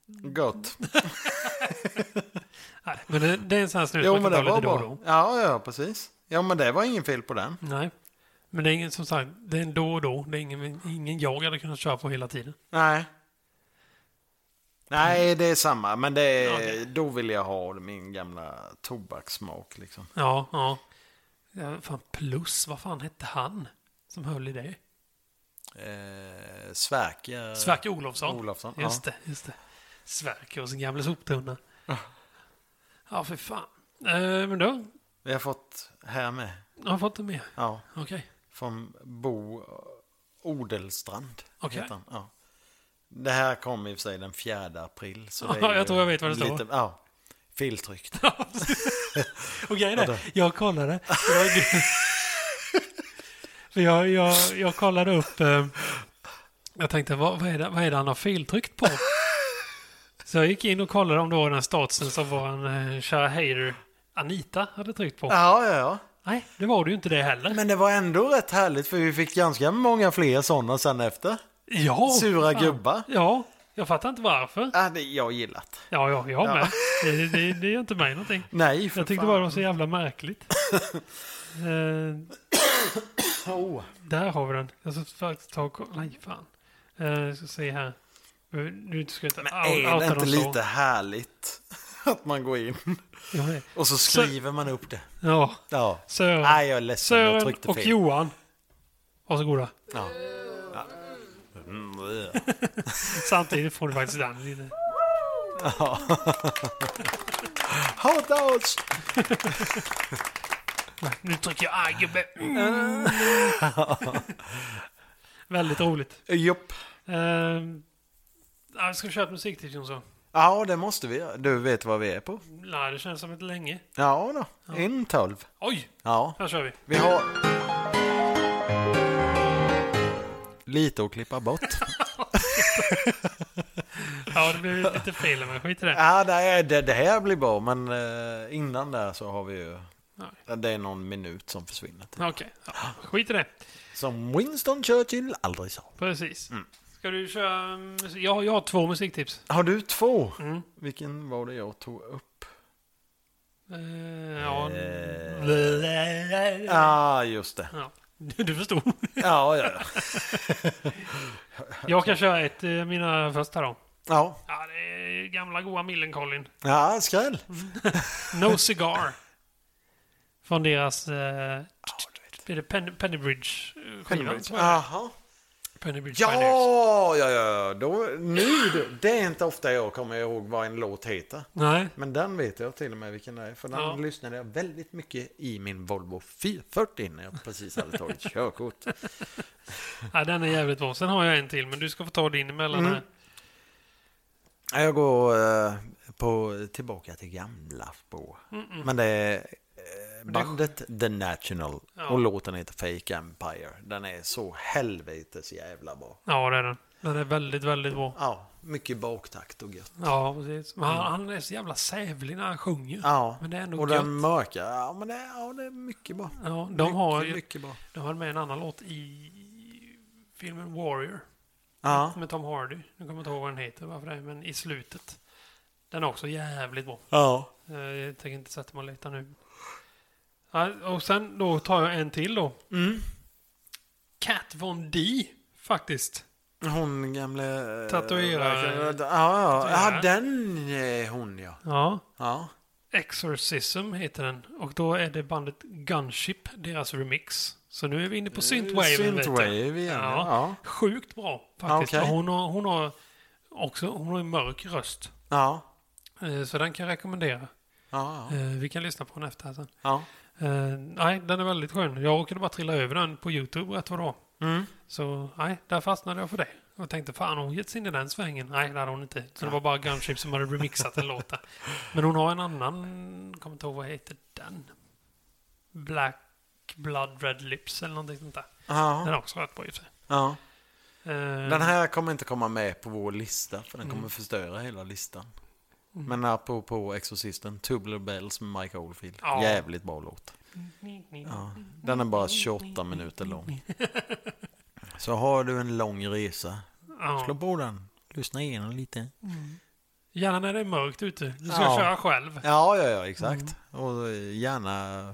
gott. Nej, men det, det är en sån här snus Jo, man men kan ta det lite var då och då. bra. Ja, ja, precis. Ja, men det var ingen fel på den. Nej. Men det är ingen, som sagt, det är en då och då. Det är ingen, ingen jag hade kunnat köra på hela tiden. Nej. Nej, det är samma. Men det är, Mm. Ja, det- då vill jag ha min gamla tobakssmak. Liksom. Ja, ja. ja fan, plus, vad fan hette han som höll i det? Eh, Sverker... Sverker Olofsson. Olofsson. Just ja. det, just det. Sverker och sin gamla soptunna. Ah. Ja, för fan. Eh, men då Vi har fått här med. har jag fått det med. Ja, Okej. från Bo Odelstrand. Okej. heter han. Ja. Det här kom i och för sig den 4 april. Så det är Ja, jag ju tror jag vet vad det står. lite- Ja, filtryckt. Och grejen är, jag kollade. Det var ju- <laughs> För jag, jag, jag kollade upp... Eh, jag tänkte, vad, vad, är det, vad är det han har filtryckt på? Så jag gick in och kollade om det var den statsen som var en eh, kära hater Anita hade tryckt på. Ja, ja, ja. Nej, det var det ju inte det heller. Men det var ändå rätt härligt för vi fick ganska många fler sådana sen efter. ja, Sura fan. gubbar. Ja, jag fattar inte varför. Ja, det jag gillat. Ja, ja jag med. Det, det, det gör inte mig någonting. Nej, för Jag tyckte fan. bara det var så jävla <laughs> märkligt. eh, Oh. Där har vi den. Jag ska faktiskt ta och kolla. Nej, fan. Eh, jag ska se här. Nu- Nu ska jag inte Men out- är det outa inte dem så. lite härligt <laughs> att man går in Ja, det- och så skriver man upp det? Ja. Ja. Sören, Nej, jag är ledsen. jag Sören tryckte och fel. Johan. Varsågoda. Ja. Mm, ja. Samtidigt får du faktiskt den. lite. Hot dogs! Nu trycker jag arg <laughs> gubbe. Mm. Väldigt roligt. Jopp. Eh, jag ska köra ett musiktips Jonsson. Ja, det måste vi göra. Du vet vad vi är på? Nej, det känns som ett länge. Ja då, en tolv. Oj, Ja, här kör vi. vi har... Lite att klippa bort. Ja, det blev lite fel men skit i det. <laughs> ja, det, är- det, det här blir bra, men eh, innan där så har vi ju... Nej. Det är någon minut som försvinner. Typ. Okej, ja, skit i det. Som Winston Churchill aldrig sa. Precis. Ska du köra... musik- Jag, har- jag har två musiktips. Har du två? Mm. Vilken var det jag tog upp? Eh, ja. Ja, ah, just det. ja. Du förstod. Ja, ja, ja. Jag kan köra ett eh, mina första då. Ja, Ja, det är gamla goa Millencolin. ja skräll. No Cigar. Från deras... Eh, är det Pen, eh, Pennybridge? Pennybridge. Jaha. Pennybridge Pioneers. Ja, ja, ja. Då, nu, du. det är inte ofta jag kommer ihåg vad en låt heter. Nej. Men den vet jag till och med vilken det är. För den Ja. lyssnade jag väldigt mycket i min Volvo 440 när jag precis hade tagit <laughs> körkort. Ja, den är jävligt bra. Sen har jag en till, men du ska få ta din emellan Mm. här. Jag går eh, på, tillbaka till gamla spår. Men det är eh, bandet The National Ja. och låten heter Fake Empire. Den är så helvetes jävla bra. Ja, det är den. Den är väldigt, väldigt bra. Ja, mycket baktakt och gött. Ja, precis. Men han, han är så jävla sävlig när han sjunger. Ja, Men det är ändå och gött. den mörka. Ja, men det, ja, det är mycket bra. Ja, de har mycket, ju... mycket bra. De hade med en annan låt i filmen Warrior Ja. med Tom Hardy. Nu kommer jag inte ihåg vad den heter, varför det är, men i slutet. Den är också jävligt bra. ja. Eh, Jag tänker inte sätta mig och leta nu. Ja, och sen då tar jag en till då. Mm. Kat Von D, faktiskt. Hon gamle... eh, Tatuerare. verkar- Ja, ja. ja Tatuerare. den är hon ja. Ja. ja. Exorcism heter den. Och då är det bandet Gunship, deras remix. Så nu är vi inne på Synthwave. Eh, Synthwave igen, ja. Ja. Sjukt bra faktiskt. Okej. Och Hon, har, hon har också hon har en mörk röst. Ja. Eh, Så den kan jag rekommendera. Ja, ja. Eh, Vi kan lyssna på den efter alltså. här sen. ja. Eh, Nej, den är väldigt skön. Jag råkade bara trilla över den på YouTube rätt vad det var. Mm. Så nej, där fastnade jag för det. Jag tänkte, fan har hon gett sig in i den svängen? Nej, det hade hon inte. Så det var bara Gunship som hade remixat en låt där. Men hon har en annan, jag kommer inte ihåg vad heter den. Black Blood Red Lips eller någonting sånt där. Den Ja, har också rätt bra i och för sig. ja. Eh, Den här kommer inte komma med på vår lista för den kommer förstöra hela listan. Men apropå Exorcisten, Tubular Bells med Mike Oldfield. Ja. Jävligt bra låt. Ja. Den är bara 28 minuter lång. Så har du en lång resa, ja. slå på den. Lyssna igenom lite. Gärna när det är mörkt ute. Du ska Ja. köra själv. Ja, ja, Mm. ja, exakt. Och gärna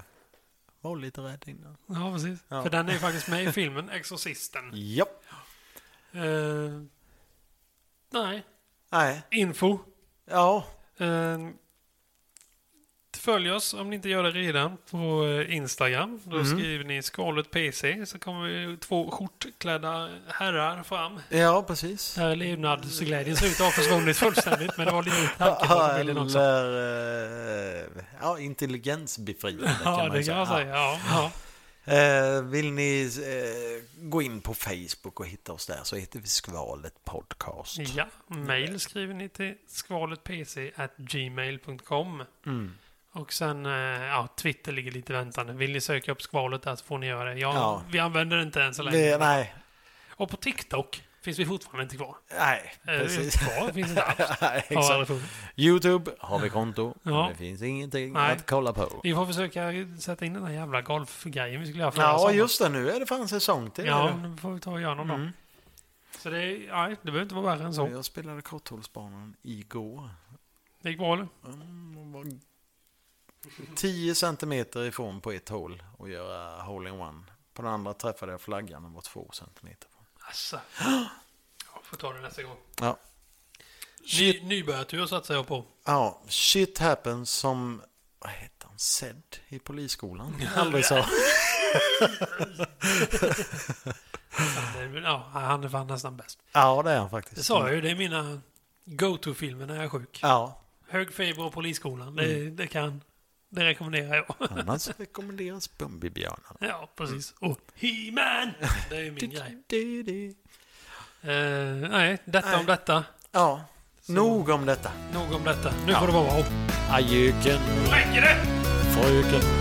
var lite rädd innan. Ja, precis. Ja. För den är ju faktiskt med i filmen Exorcisten. Japp. Eh, nej. Nej. Info. Ja. Eh, följ oss om ni inte gör det redan på eh, Instagram. Då skriver ni skalet PC så kommer vi två skjortklädda herrar fram. Ja, precis. Där levnadsglädjen ser ut att ha försvunnit fullständigt men det var lite tanke <laughs> bakom bilden också. Eller eh, ja, intelligensbefriande kan Ja, man ju det kan man säga. Ja, ja. Eh, Vill ni eh, gå in på Facebook och hitta oss där så heter vi Skvalet Podcast. ja. Mail skriver ni till skvaletpc.gmail.com. Mm. Och sen, eh, ja, Twitter ligger lite väntande. Vill ni söka upp skvalet där så får ni göra det. Ja, Ja. Vi använder det inte än så länge. Det, nej, Och på TikTok finns vi fortfarande inte kvar. nej, Eh, precis. <laughs> Kvar finns <laughs> inte alls. Nej, Har exakt. aldrig funnits. Youtube har vi konto, Ja. men det finns ingenting Nej. att kolla på. Vi får försöka sätta in den där jävla golfgrejen vi skulle göra förra Ja, sommaren. just det. Nu är det Mm. fan säsong till. Ja, nu får vi ta och göra någon dag. Så det, är- nej, det behöver inte vara värre än så. Jag spelade korthållsbanan igår. Det gick <gasps> bra eller? Mm, var 10 centimeter ifrån på ett hål och göra hole-in-one. På den andra träffade jag flaggan, den var 2 centimeter. från. Asså. Jag får ta det nästa gång. Ja. Ny, nybörjartur satsar jag på. Ja, shit happens som, vad heter han, Zed i polisskolan. Aldrig så. Ja, han är fan nästan bäst. Ja, det är han faktiskt. Det sa jag ju, det är mina go-to-filmer när jag är sjuk. Ja, Hög feber och Polisskolan, det, det kan... Det rekommenderar jag. <laughs> annars rekommenderas Bumbibjörnarna. Ja, precis. Och He-Man! Det är ju <laughs> min grej. Du, du. Eh, nej, detta om detta. Ja, nog om detta. Nog om detta. Nu får det vara bra. Adjöken, Räcker det? fröken.